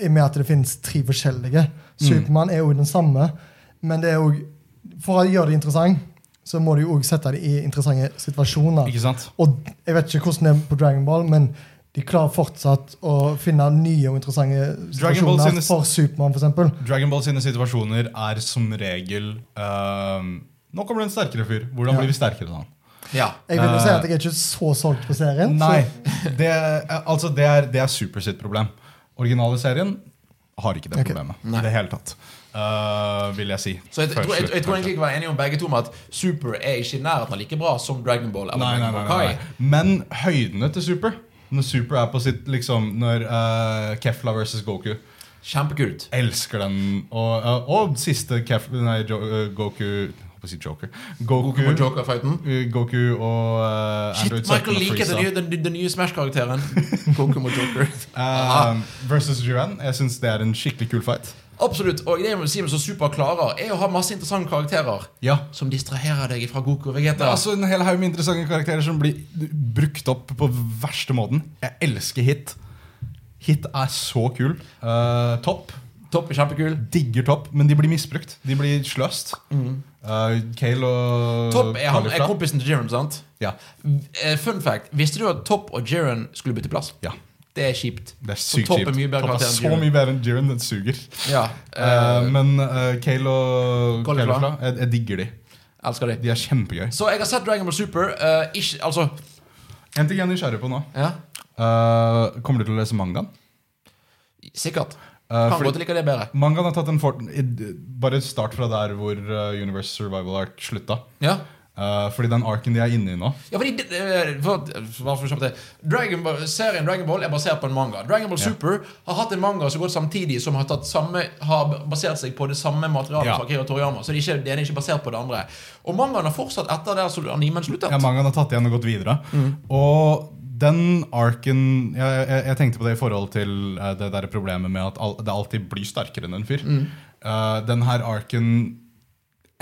i og med at det finnes tre forskjellige. Mm. Supermann er jo den samme, men det er jo For å gjøre det interessant, så må du jo også sette det i interessante situasjoner. Ikke sant? Og jeg vet ikke hvordan det er på Dragon Ball, men de klarer fortsatt å finne nye og interessante Dragon Ball situasjoner sine- for Supermann, for eksempel. Dragonball sine situasjoner er som regel ehm, Nå kommer det en sterkere fyr. Hvordan Ja. blir vi sterkere da? Ja. Jeg vil jo si Eh. at jeg er ikke så solgt på serien. Nei, Så, det, er- altså det er, det er Super sitt problem. Originale serien har ikke det Ok. problemet. Nei. I det hele tatt. Eh, vil jeg si. Så jeg, jeg, tror- jeg, jeg tror egentlig ikke vi var enige om begge to om at Super er ikke i nærheten av like bra som Dragon Ball. Eller Nei, nei, Dragon nei, Ball nei, Kai. nei. Men høydene til Super Når Super er på sitt liksom Når eh, Kefla versus Goku Kjempekult. Elsker den Og, eh, og siste Kef, nei, jo, eh, Goku jeg håper å si Joker Goku, Goku mot Joker-fighten. eh, Goku og eh, Shit, Android 17 Michael og liker den nye, Frieza, den, den nye Smash-karakteren. Goku mot Joker. eh, Aha. Versus Juan Jeg synes det er en skikkelig kul fight Absolutt. Og det jeg må si med så Super klarer, er å ha masse interessante karakterer Ja som distraherer deg fra Goku og Vegeta. Altså en hel haug med interessante karakterer Som blir brukt opp på verste måten Jeg elsker Hit Hit er så kul Eh, Topp Topp er kjempekul. digger Topp, men de blir misbrukt. De blir sløst. Eh, Kale og Mm. Topp er, han, er Kalifra. kompisen til Jiren, sant? Ja. Eh, Fun fact. Visste du at Topp og Jiren skulle bytte plass? ja. Det er kjipt. Det er For sykt Topp er kjipt. mye bedre Topp er karakter enn så Jiren. mye bedre enn Jiren. Den suger. Ja, Eh, eh, men eh, Kale og Kalifra. Kalifra, jeg, jeg digger de. elsker det. De er kjempegøy. Så jeg har sett Dragon Ball Super. eh, ikke, altså En ting jeg er nysgjerrig på nå. Ja, Eh, kommer du til å lese mangaen? sikkert. Eh, Kan fordi- godt like det bedre. mangaen har tatt en fort... i- Bare start fra der hvor eh, Universe Survival Arc slutta. Ja, Eh, fordi den arken de er inne i nå ja fordi det- eh, for, for, for, for det. Dragon Ball, Serien Dragon Ball er basert på en manga. Dragon Ball Ja. Super har hatt en manga så godt samtidig som har, tatt samme, har basert seg på det samme materialet Ja. fra Akira Toriyama. Så det er, ikke, det er ikke basert på det andre. Og mangaen har fortsatt etter der som animen sluttet. Ja, mangaen har tatt igjen og gått videre. Og den arken jeg, jeg, jeg tenkte på det i forhold til eh, det der problemet med at al det alltid blir sterkere enn en fyr. Eh, den her arken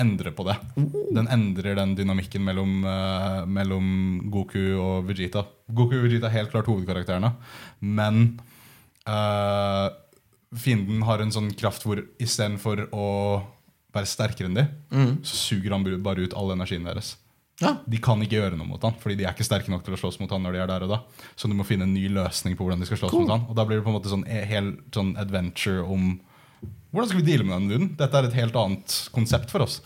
endrer på det. Den endrer den dynamikken mellom, eh, mellom Goku og Vegeta. Goku og Vegeta er helt klart hovedkarakterene, men eh, fienden har en sånn kraft hvor istedenfor å være sterkere enn de, så suger han bare ut all energien deres. Ja. De kan ikke gjøre noe mot han Fordi de er ikke sterke nok til å slåss mot han når de er der og da. Så du må finne en ny løsning på hvordan de skal slåss mot han Og da blir det på en måte sånn e- hel sånn adventure om hvordan skal vi deale med den duden? Dette er et helt annet konsept for oss.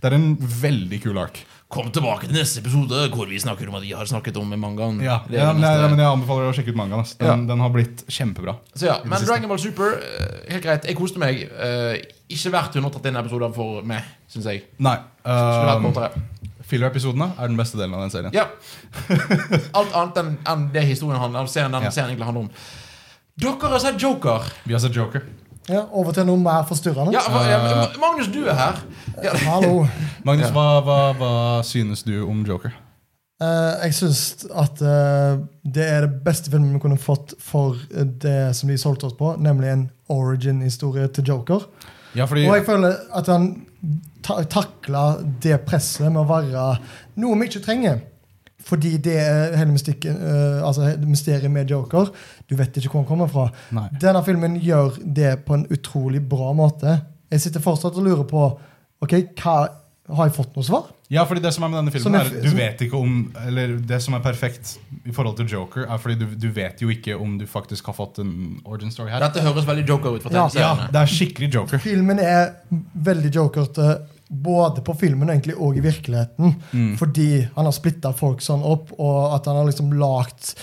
Det er en veldig kul ark. Kom tilbake til neste episode hvor vi snakker om at jeg har snakket om mangaen. Ja, Det er ja, det men, jeg, neste. men jeg anbefaler å sjekke ut mangaen. ass. Den, Ja. den har blitt kjempebra. Så ja, i det Men siste. Dragon Ball Super, eh, helt greit. Jeg koste meg. eh, Ikke verdt 131 episoder for meg, syns jeg. Nei. Skulle vært ehm, kortere. Filler-episodene er den beste delen av den serien. Ja. Alt annet enn enn det historien handler om. Serien den Ja. serien egentlig handler om. Dere har sett Joker. Vi har sett Joker. Ja, over til noe mer forstyrrende. Ja, hva- ja, Ma- Magnus, du er her. Ja. Hallo. Magnus, Ja. hva, hva, hva synes du om Joker? Eh, jeg syns at eh, det er det beste filmen vi kunne fått for eh, det som de solgte oss på, nemlig en origin-historie til Joker. Ja, fordi Og jeg føler at han ta takla det presset med å være noe vi ikke trenger. Fordi det er hele mystikken, eh, altså hele mysteriet med Joker. Du vet ikke hvor han kommer fra. Nei. Denne filmen gjør det på en utrolig bra måte. Jeg sitter fortsatt og lurer på ok, hva, har jeg fått noe svar. Ja, fordi det som er med denne filmen Som er jeg- at Du som- vet ikke om Eller det som er perfekt i forhold til Joker, er fordi du, du vet jo ikke om du faktisk har fått en origin story her. Dette høres veldig Joker ut. fra Ja. Ja, tegneseriene. det er skikkelig Joker. Filmen er veldig jokerte både på filmen og egentlig og i virkeligheten. Mm. Fordi han har splitta folk sånn opp, og at han har liksom lagd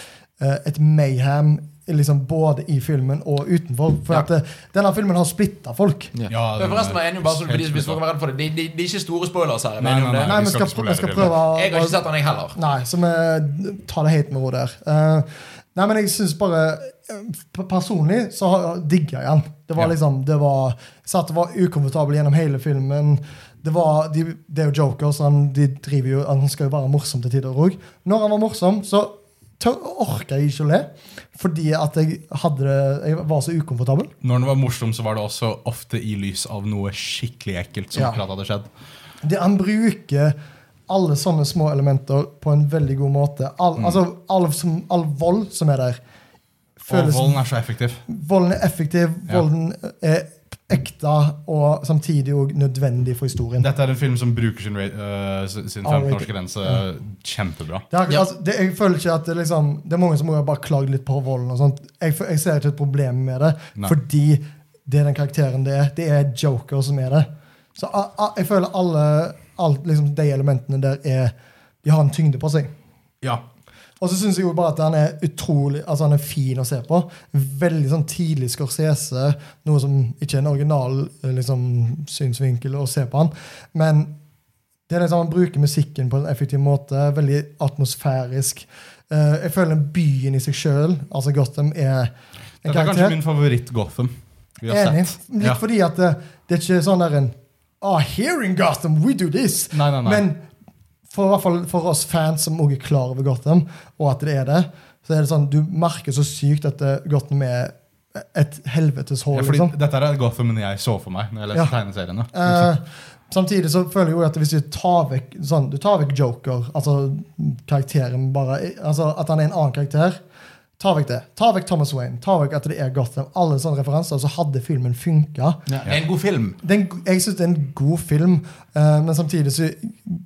eh, et mayhem liksom både i filmen og utenfor. For Ja. at eh, denne filmen har splitta folk. Ja, Men Forresten var jeg enig om bare så, hvis, hvis folk var redde for det. Det de, de er ikke store spoilers her. Jeg, nei, nei, Nei, vi vi skal skal, ikke vi skal spolere prøve å- jeg har ikke sett den, jeg heller. Nei, så vi tar det helt med ro der. Eh, nei, men jeg syns bare eh, p- Personlig så har- digga jeg den. Det var Ja. liksom det var, jeg Satt og var ukomfortabel gjennom hele filmen. Det, var, de, det er jo Joker, så han, de driver jo, han skal jo være morsom til tider òg. Når han var morsom, så tør, orka jeg ikke å le. Fordi at jeg, hadde, det- jeg var så ukomfortabel. Når den var morsom, så var det også ofte i lys av noe skikkelig ekkelt som Ja. akkurat hadde skjedd. det, han bruker alle sånne små elementer på en veldig god måte. All, altså, all, som, all vold som er der, Og føles volden er så effektiv. Volden er effektiv, Ja. volden er ekte og samtidig òg nødvendig for historien. Det, Dette er en film som bruker sin, ra- øh, s- sin All 15 års grense øh, kjempebra. er, akkurat- Ja. altså, det, jeg føler ikke at det, liksom, det er mange som har bare klagd litt på volden. og sånt. Jeg, f- jeg ser ikke et problem med det, Nei. fordi det er den karakteren det er. Det er Joker som er det. Så a, a, jeg føler alle, alt, liksom, de elementene der er De har en tyngde på seg. Ja. Og så syns jeg jo bare at han er utrolig Altså han er fin å se på. Veldig sånn tidlig Scorsese, noe som ikke er en original eh, liksom, synsvinkel å se på han. Men det er liksom han bruker musikken på en effektiv måte. Veldig atmosfærisk. Eh, jeg føler byen i seg sjøl, altså Gotham, er en Dette er kanskje karakter. min favoritt-Gotham vi har Enig. sett. Litt Ja. fordi at det, det er ikke sånn der en Ah, here in Gotham, we do this! Nei, nei, nei. Men for, i hvert fall for oss fans som også er klar over Gotham, og at det er det, så er det sånn, du merker så sykt at eh, Gotham er et helvetes ja, hull. fordi liksom. Dette er Gothamen jeg så for meg når jeg leste Ja. tegneseriene. Eh, samtidig så føler jeg jo at hvis du tar vekk, sånn, du tar vekk Joker, altså karakteren bare, altså at han er en annen karakter, ta vekk det. Ta vekk Thomas Wayne, ta vekk at det er Gotham. Alle sånne referanser, så hadde filmen funka. Det er en god film. det er en, go- jeg syns det er en god film, eh, men samtidig så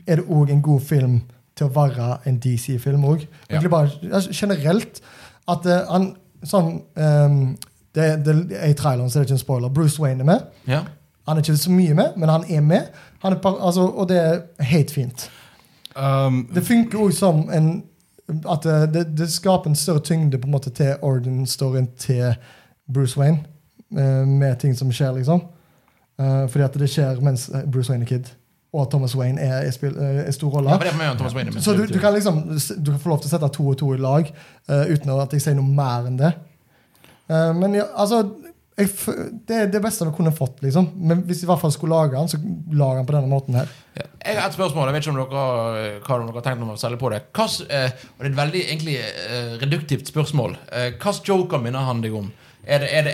er det òg en god film til å være en DC-film òg. Ja. Generelt at eh, han sånn eh, det, det, I traileren så er det ikke en spoiler. Bruce Wayne er med. Ja. Han er ikke så mye med, men han er med. Han er, par- altså, og det er helt fint. Eh. Um, Det funker òg som en At eh, det, det skaper en større tyngde på en måte til origin-storyen til Bruce Wayne, eh, med ting som skjer, liksom. Eh, fordi at det skjer mens eh, Bruce Wayne er kid, og Thomas Wayne er, er, spill- eh, er stor rolle. Ja, for det er med Thomas Wayne. men- Så du, du kan liksom Du kan få lov til å sette to og to i lag eh, uten at jeg sier noe mer enn det. Eh, men ja, altså jeg, f- Det er det beste vi kunne fått, liksom. Men hvis vi i hvert fall skulle lage den, så lag den på denne måten her. Ja. Jeg har et spørsmål. Jeg vet ikke om dere, eh, hva dere har tenkt om å selge på det. Hva, s- eh, og det er et veldig egentlig eh, reduktivt spørsmål. Eh, Hva slags joker minner han deg om? Er det, er, det,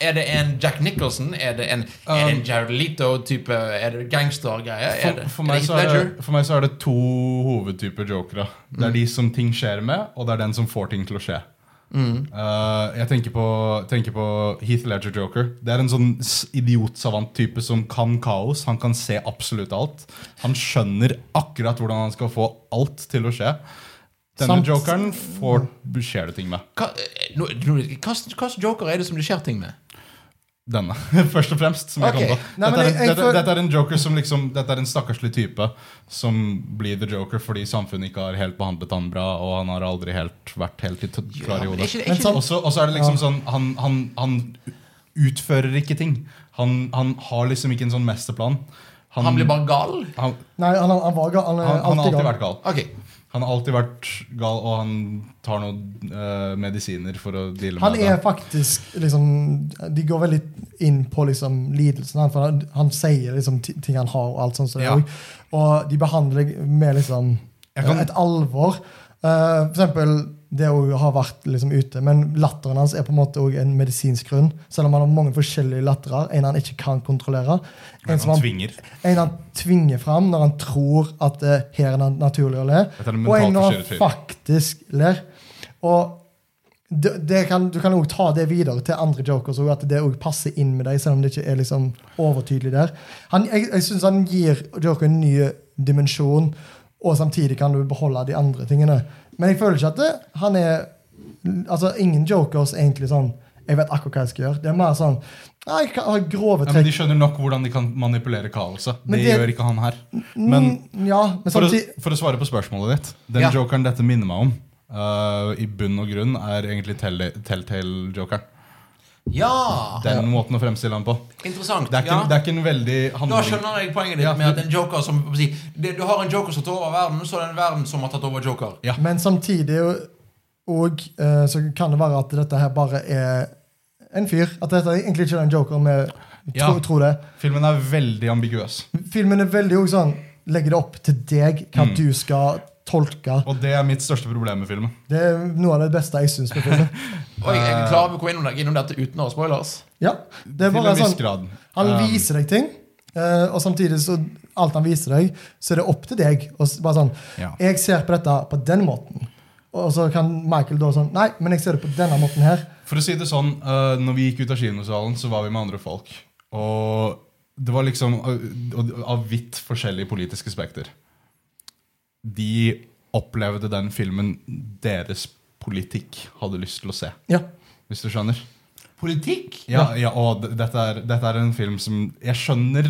er det en Jack Nicholson? Er det en, er det en Jared Leto-type? Er det gangstergreie? Er Um, for, det- for, er meg det så er det, for meg så er det to hovedtyper jokere. Det er de som ting skjer med, og det er den som får ting til å skje. Eh, jeg tenker på, tenker på Heath Ledger Joker. Det er en sånn s- idiotsavant-type som kan kaos. Han kan se absolutt alt. Han skjønner akkurat hvordan han skal få alt til å skje. Denne Sant. jokeren får, skjer det ting med. Hva, eh, nå- nå- hva slags hva slags joker er det som det skjer ting med? Denne, først og fremst. Som Ok. jeg kom på. Nei, men dette, er, jeg- jeg dette, føl- dette er en joker som liksom Dette er en stakkarslig type som blir the joker fordi samfunnet ikke har helt behandlet han bra, og han har aldri helt vært helt i t- klar i hodet. men er ikke det- er Men sånn- ikke det- Også, også er det liksom sånn han, han, han utfører ikke ting. Han, han har liksom ikke en sånn mesterplan. Han, Han blir bare gal? han, Nei, han, han var ga- han, er han, han har alltid gal. vært gal. Ok. Han har alltid vært gal, og han tar noen eh, medisiner for å deale Han med er det. faktisk liksom De går veldig inn på liksom lidelsen. han, For han, han sier liksom ti- ting han har, og alt sånt. som det Ja. er. Og de behandler deg med liksom Jeg kan- et alvor. Eh, for eksempel det å ha vært liksom ute, men latteren hans er på en måte også en medisinsk grunn. Selv om han har mange forskjellige latterer. En han ikke kan kontrollere. En, som Han han, tvinger. en han tvinger fram når han tror at det her er na- naturlig å le. Dette er en Og en mentalt når forstyrret han fyr. faktisk ler. Og det, det kan, du kan også ta det videre til andre jokers, og at det også passer inn med deg, selv om det ikke er liksom overtydelig der. Han, jeg jeg syns han gir joker en ny dimensjon, og samtidig kan du beholde de andre tingene. Men jeg føler ikke at det, han er Altså, ingen jokers er egentlig sånn Jeg vet akkurat hva jeg skal gjøre. Det er mer sånn «Nei, Jeg kan ha grove Ja, men trekk. de skjønner nok hvordan de kan manipulere kaoset. Men Det, det- gjør ikke han her. Men Mm, ja, men for å, samtidig for å svare på spørsmålet ditt Den Ja. jokeren dette minner meg om, eh, i bunn og grunn, er egentlig Tell- Telltale-jokeren. Ja! Den måten å fremstille han på. Interessant. Det er ikke, ja. det er ikke en veldig Da handling skjønner jeg poenget ditt Ja, med at men- en joker som hva skal jeg si, det, Du har en joker som tar over verden, så er det en verden som har tatt over joker. Ja. Men samtidig og, eh, så kan det være at dette her bare er en fyr. At dette er egentlig ikke er en joker vi Ja. tro, tror det. Filmen er veldig ambiguøs. Filmen er veldig jo sånn Legger det opp til deg hva Mm. du skal tolke. Og det er mitt største problem med filmen. Det er noe av det beste jeg syns med filmen. Og jeg, Eh. jeg klarer å gå innom, innom dette uten å ha spoilers. Ja, det er Til bare en viss sånn grad. Han Um, viser deg ting, eh, og samtidig så alt han viser deg, så er det opp til deg. Og s- bare sånn, Ja. Jeg ser på dette på den måten. Og så kan Michael da sånn Nei, men jeg ser det på denne måten her. For å si det sånn, eh, når vi gikk ut av kinosalen, så var vi med andre folk. Og det var liksom eh, og- av vidt forskjellige politiske spekter. De opplevde den filmen deres politikk hadde lyst til å se, Ja. hvis du skjønner. Politikk? Ja, ja og d- dette er, dette er en film som Jeg skjønner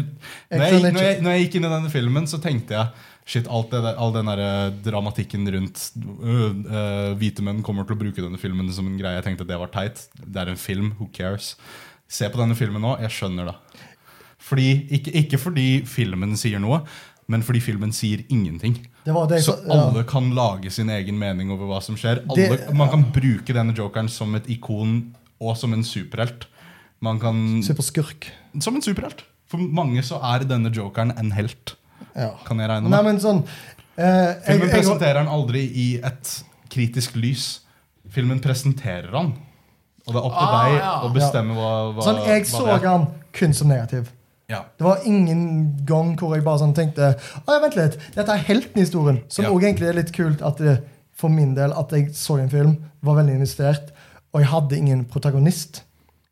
Jeg Når jeg, skjønner gikk- når ikke. jeg, når jeg gikk inn i denne filmen, så tenkte jeg Shit, alt det, der- all den der eh, dramatikken rundt øh, øh, Hvite menn kommer til å bruke denne filmen som en greie. Jeg tenkte det var teit. Det er en film. Who cares? Se på denne filmen nå. Jeg skjønner det. Fordi, ikke, ikke fordi filmen sier noe, men fordi filmen sier ingenting. Det var det jeg Så sa- ja. alle kan lage sin egen mening over hva som skjer. Alle, Det- man kan bruke denne jokeren som et ikon og som en superhelt. Man kan, Mm. Superskurk. som en superhelt. For mange så er denne jokeren en helt. Ja. Kan jeg regne Nei, med? men sånn eh, jeg, Filmen jeg, presenterer han aldri i et kritisk lys. Filmen presenterer han. Og det er opp til Ah, deg ja. å bestemme hva, hva, sånn, jeg hva så det er. han kun som negativ. Ja. Det var ingen gang hvor jeg bare sånn tenkte Å, ja, vent litt, dette er helten i historien. Som Ja. også egentlig er litt kult at det, for min del at jeg så en film, var veldig investert, og jeg hadde ingen protagonist.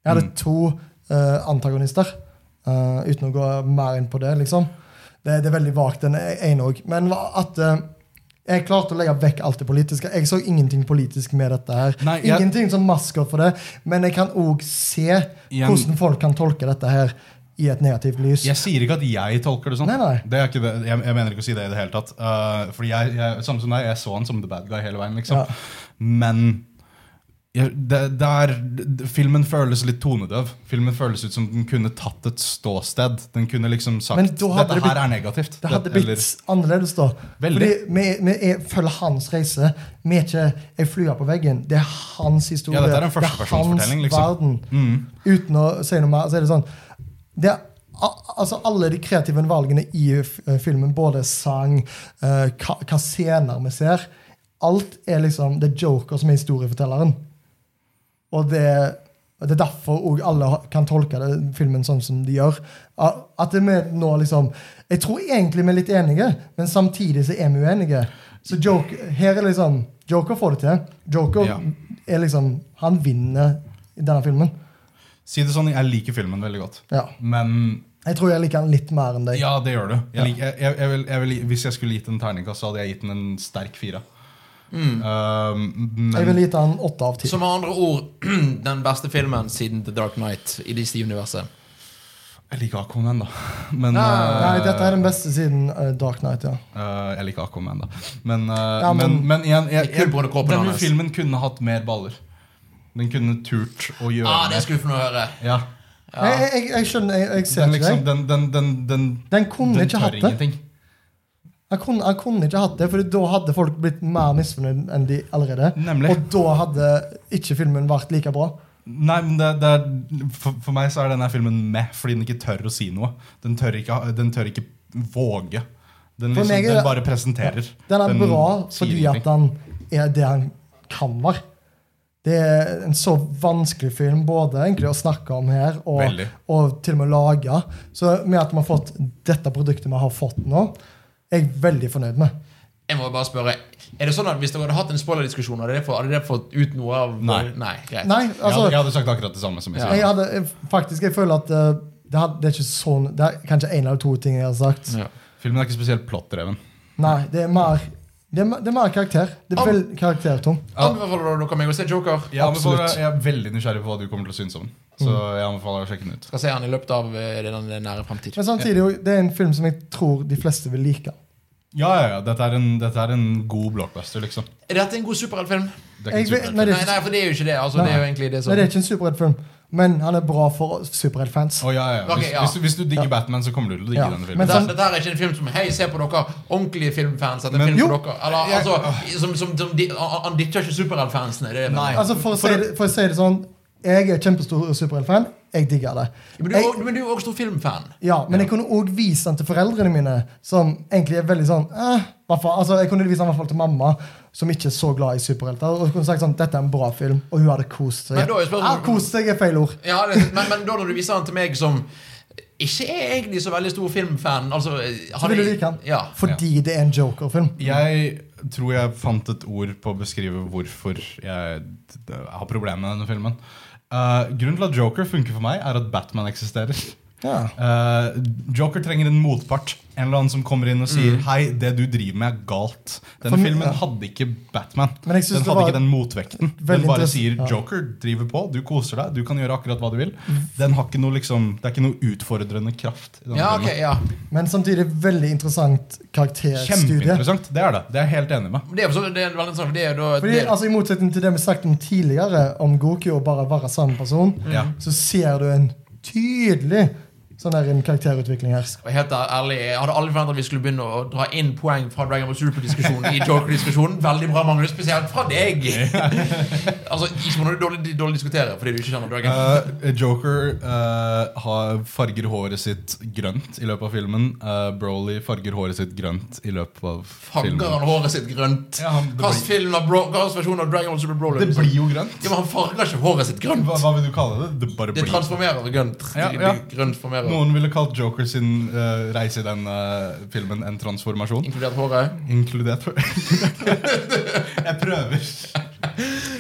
Jeg Mm. hadde to eh, antagonister, eh, uten å gå mer inn på det, liksom. Det, det er veldig vagt, den ene òg. Men hva- at eh, jeg klarte å legge vekk alt det politiske. Jeg så ingenting politisk med dette. her. Nei, jeg- Ingenting som masker for det. Men jeg kan òg se Igjen- hvordan folk kan tolke dette her i et negativt lys. Jeg sier ikke at jeg tolker det sånn. Nei, nei. Det er ikke det. Jeg, jeg mener ikke å si det i det hele tatt. Eh, fordi jeg, jeg, samme som deg, jeg så han som the bad guy hele veien. liksom. Ja. Men jeg, det, det er, d- filmen føles litt tonedøv. Filmen føles ut som den kunne tatt et ståsted. Den kunne liksom sagt Men da hadde dette det blitt- her er negativt. Det hadde Dette- eller- blitt annerledes, da. Veldig. Fordi vi, vi er, følger hans reise. Vi er ikke ei flue på veggen. Det er hans historie. Ja, dette er en det hans førstepersonsfortelling, liksom. verden. Uten å si noe mer, så er det sånn det er, al- altså Alle de kreative valgene i f- eh, filmen, både sang, eh, hva, hva scener vi ser Alt er liksom Det er Joker som er historiefortelleren. Og det, det er derfor òg alle ha- kan tolke det, filmen sånn som de gjør. A- At vi nå liksom Jeg tror egentlig vi er litt enige, men samtidig så er vi uenige. Så joke, her er liksom Joker får det til. Joker Ja. er liksom Han vinner i denne filmen. Si det sånn, jeg liker filmen veldig godt. Ja. Men Jeg tror jeg liker han litt mer enn deg. ja, det gjør du. Ja. Jeg liker, jeg, jeg, vil, jeg vil, hvis jeg skulle gitt den terningkast, så hadde jeg gitt den en sterk fire. Eh, men Mm. Jeg ville gitt han åtte av ti. Så med andre ord den beste filmen siden The Dark Knight i DC-universet. jeg liker Aquaman, da. Men, eh, Ah, Nei, dette er den beste siden eh, Dark Knight, ja. Eh, jeg liker Aquaman, da. Men, eh, Ja, men- men, men, igjen jeg, Det er jeg, kun på grunn av kroppen Denne hans. filmen kunne hatt mer baller. Den kunne turt å gjøre Ah, det er mer. skuffende å høre. Ja. Ja. Nei, Jeg, jeg, jeg skjønner, jeg, jeg ser Den, ikke liksom, deg. den, den, den, den, Den kunne den ikke hatt det. ingenting. Han kunne, han kunne ikke hatt det, for da hadde folk blitt mer misfornøyd enn de allerede. Nemlig. Og da hadde ikke filmen vært like bra. Nei, men det, det er, for, for meg så er denne filmen med, fordi den ikke tør å si noe. Den tør ikke, ha- den tør ikke våge. Den, For liksom, meg er det- den bare presenterer. Den er bra sier fordi ingenting. at han er det han kan være. Det er en så vanskelig film både egentlig å snakke om her og, Veldig. og til og med lage. Så med at vi har fått dette produktet vi har fått nå, er jeg veldig fornøyd med. Jeg må bare spørre Er det sånn at Hvis dere hadde hatt en spoilerdiskusjon, hadde dere fått, hadde dere fått ut noe av Nei. greit. Nei, jeg, hadde, altså, jeg hadde sagt akkurat det samme som jeg Ja. sier. jeg hadde faktisk Jeg føler at eh, det, hadde, det er ikke sånn Det er kanskje én eller to ting jeg har sagt. Ja. Filmen er ikke spesielt plottdreven. Nei, det er mer Det er, me- det er mer karakter. Det er vel karaktertung. Ja. Anbefaler dere meg å se Joker? Jeg, anbefaler, Absolutt. jeg er veldig nysgjerrig på hva du kommer til å synes om den. Så jeg anbefaler å sjekke den ut. Skal se han i løpet av eh, den nære fremtid. Men samtidig, jo, det er en film som jeg tror de fleste vil like. Sånn. Ja, ja, ja. Dette er en, dette er en god blockbuster, liksom. Er dette en god superheltfilm? Det er Jeg ikke vet- en superhelt. nei, Nei, det er nei, for det er jo ikke det. Altså, Nei. det er jo egentlig det Nei, som det er ikke en superheltfilm, men han er bra for superheltfans. Å, ja, ja. Hvis, Ok, ja. Hvis, hvis du digger Ja. Batman, så kommer du til å digge Ja, denne men sånn- filmen. Dette, dette her er ikke en film som Hei, se på dere ordentlige filmfans. Dette er Men- en film for Jo. dere Eller, Jeg- altså, som, som, som de, han- Han ditcher ikke superheltfansene. Det er det. Nei. Altså, for, å si det, for å si det sånn, jeg er kjempestor superheltfan. Jeg digger det. Men du, er Jeg, også- men du er jo også stor filmfan. ja, men jeg kunne òg vise den til foreldrene mine, som egentlig er veldig sånn eh, hva faen? altså, Jeg kunne vise den i hvert fall til mamma, som ikke er så glad i superhelter. Og kunne sagt sånn, dette er en bra film, og hun hadde kost seg. Men da er jo spørsmålet- ah, kost seg er feil ord. Ja, det, men, men da når du viser den til meg som ikke er egentlig så veldig stor filmfan altså, Så han vil du er- like den. Ja. Fordi det er en joker-film. Jeg tror jeg fant et ord på å beskrive hvorfor jeg d- har problemer med denne filmen. Eh, grunnen til at Joker funker for meg, er at Batman eksisterer. Ja. Eh, Joker trenger en motpart. En eller annen som kommer inn og sier 'Hei, det du driver med, er galt'. Denne Mm. For mi- filmen ja. hadde ikke Batman. Den Men jeg synes hadde det var ikke den motvekten. Den veldig bare interess- sier ja. 'Joker driver på, du koser deg, du kan gjøre akkurat hva du vil'. Mm. Den har ikke noe, liksom, det er ikke noe utfordrende kraft. i denne Sånn Ja, filmen. ok, ja. Men samtidig veldig interessant karakterstudie. Kjempeinteressant. Det er det. Det er jeg helt enig med. Men Det er, jo så- det er veldig interessant. for Det er jo da Fordi, det, altså I motsetning til det vi snakket om tidligere, om Goku og bare være samme person, Ja. så ser du en tydelig sånn der en karakterutvikling her. Og Helt ærlig, Jeg hadde aldri forventet at vi skulle begynne å dra inn poeng fra Dragon Ball Super-diskusjonen i Joker-diskusjonen. Veldig bra, Magnus. Spesielt fra deg. altså, Ikke noe dårlig, dårlig diskutere fordi du ikke kjenner Dragon. Eh, Joker eh, har farger håret sitt grønt i løpet av filmen. Eh, Broly farger håret sitt grønt i løpet av Farger filmen. han håret sitt grønt? Ja, han- det Hvilken film av Bro- hvilken versjon av Dragon Ball Super Broly? Det blir jo grønt. liksom? Ja, men Han farger ikke håret sitt Hva, grønt. hva vil du kalle det? Det bare Det blir. transformerer grønt. Ja, Det- ja. det grønt formerer. Noen ville kalt Joker sin eh, reise i den eh, filmen en transformasjon. Inkludert håret. Inkludert Jeg prøver.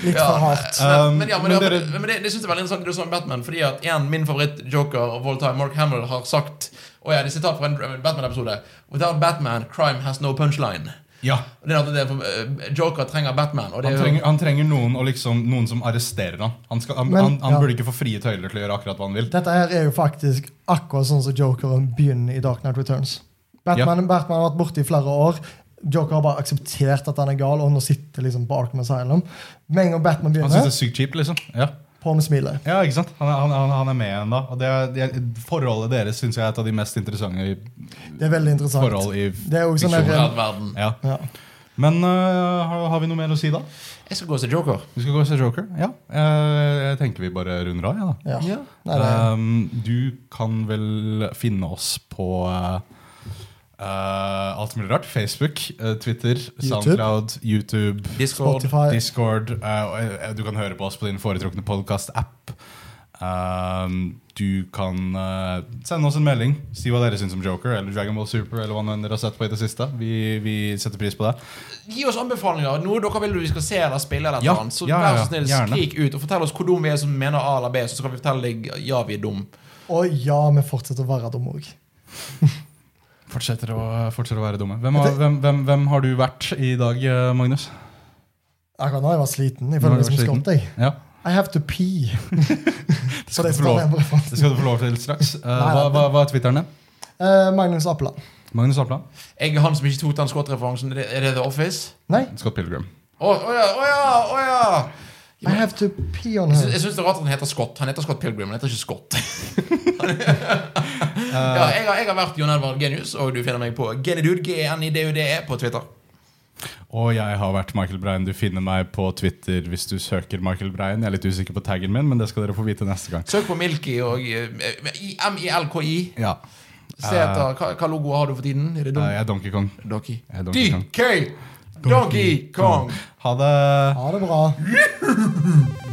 Litt Ja. for hardt. Um, men, ja, men, men det, dere- men det, det synes jeg er veldig interessant det du sa om Batman. Fordi at en, min favoritt-joker of all time, Mark Hamill, har sagt Og ja, det er sitat fra en Batman-episode Without Batman, crime has no punchline. Ja, Og Det er at det, er for- eh, Joker trenger Batman. Og det han er jo- trenger, han trenger noen, og liksom, noen som arresterer han. Han, skal, han, Men- han, han ja. burde ikke få frie tøyler til å gjøre akkurat hva han vil. Dette her er jo faktisk akkurat sånn som Jokeren begynner i Dark Knight Returns. Batman, Batman har vært borte i flere år. Joker har bare akseptert at han er gal, og nå sitter liksom på Arkham Asylum. Med en gang Batman Han syns det begynner, er sykt kjipt, liksom. Ja. på med smilet. Ja, ikke sant? Han er, han, han- han er med ennå. Og det, er- det, er- forholdet deres syns jeg er et av de mest interessante i- Det er veldig interessant. forhold i Det er jo sånn fiksjon. der- Forræd verden. Ja. Ja. Men øh, har, har vi noe mer å si, da? Jeg skal gå og se Joker. Vi skal gå og se Joker? Ja. Eh, jeg tenker vi bare runder av, jeg, ja, da. Ja. Ja. Nei, det er Ehm, du kan vel finne oss på eh, eh, alt mulig rart. Facebook, eh, Twitter, Soundcloud, YouTube, Discord. Spotify. Discord. eh, og, eh, du kan høre på oss på din foretrukne podkast-app. Ehm, du kan eh, sende oss en melding. Si hva dere syns om Joker eller Dragon Ball Super. Eller hva nå enn dere har sett på i det siste Vi, vi setter pris på det. Gi oss anbefalinger. Noe dere vil vi skal se eller spille. eller et Ja, eller annet Så ja, ja, vær så snill, gjerne. skrik ut og fortell oss hvor dum vi er som mener A eller B. Så skal vi fortelle deg ja, vi er dum. Og ja, vi fortsetter å være dumme òg. Fortsetter å, fortsetter å være dumme. Hvem har, hvem, hvem, hvem har du vært i dag, eh, Magnus? Akkurat nå jeg var sliten. Nå Jeg er du føler meg som sliten. skott. jeg. Ja. I have to pee. Det Så skal det du få lov, står jeg bare for. det skal du få lov til straks. Eh, hva, nei. hva, hva er Twitteren din? Eh, Magnus Appeland. Magnus Apland? Jeg er han som ikke tok den skottreferansen. Er det- Er det The Office? Nei, Scott Pilgrim. Å å ja, å ja, å ja! I have to pee on Jeg sy- her. Jeg syns det er rart at han heter Scott. Han heter Scott Pilgrim, han heter ikke Scott. ja, jeg, har, jeg har vært Jon Edvard Genius, og du finner meg på Genidude, G-N-I-D-U-D-E, E, på Twitter. Og jeg har vært Michael Brein. Du finner meg på Twitter hvis du søker Michael Brein. Jeg er litt usikker på taggen min, men det skal dere få vite neste gang. Søk på Milky og eh, i- M-I-L-K-I. Ja, Se Ah. etter hva, hva logo har du for tiden? Er det eh, Don Jeg er Donkey Kong. Donkey? Jeg er Donkey Kong. DK! Donkey Kong! Ha det Ha det bra.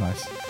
nice.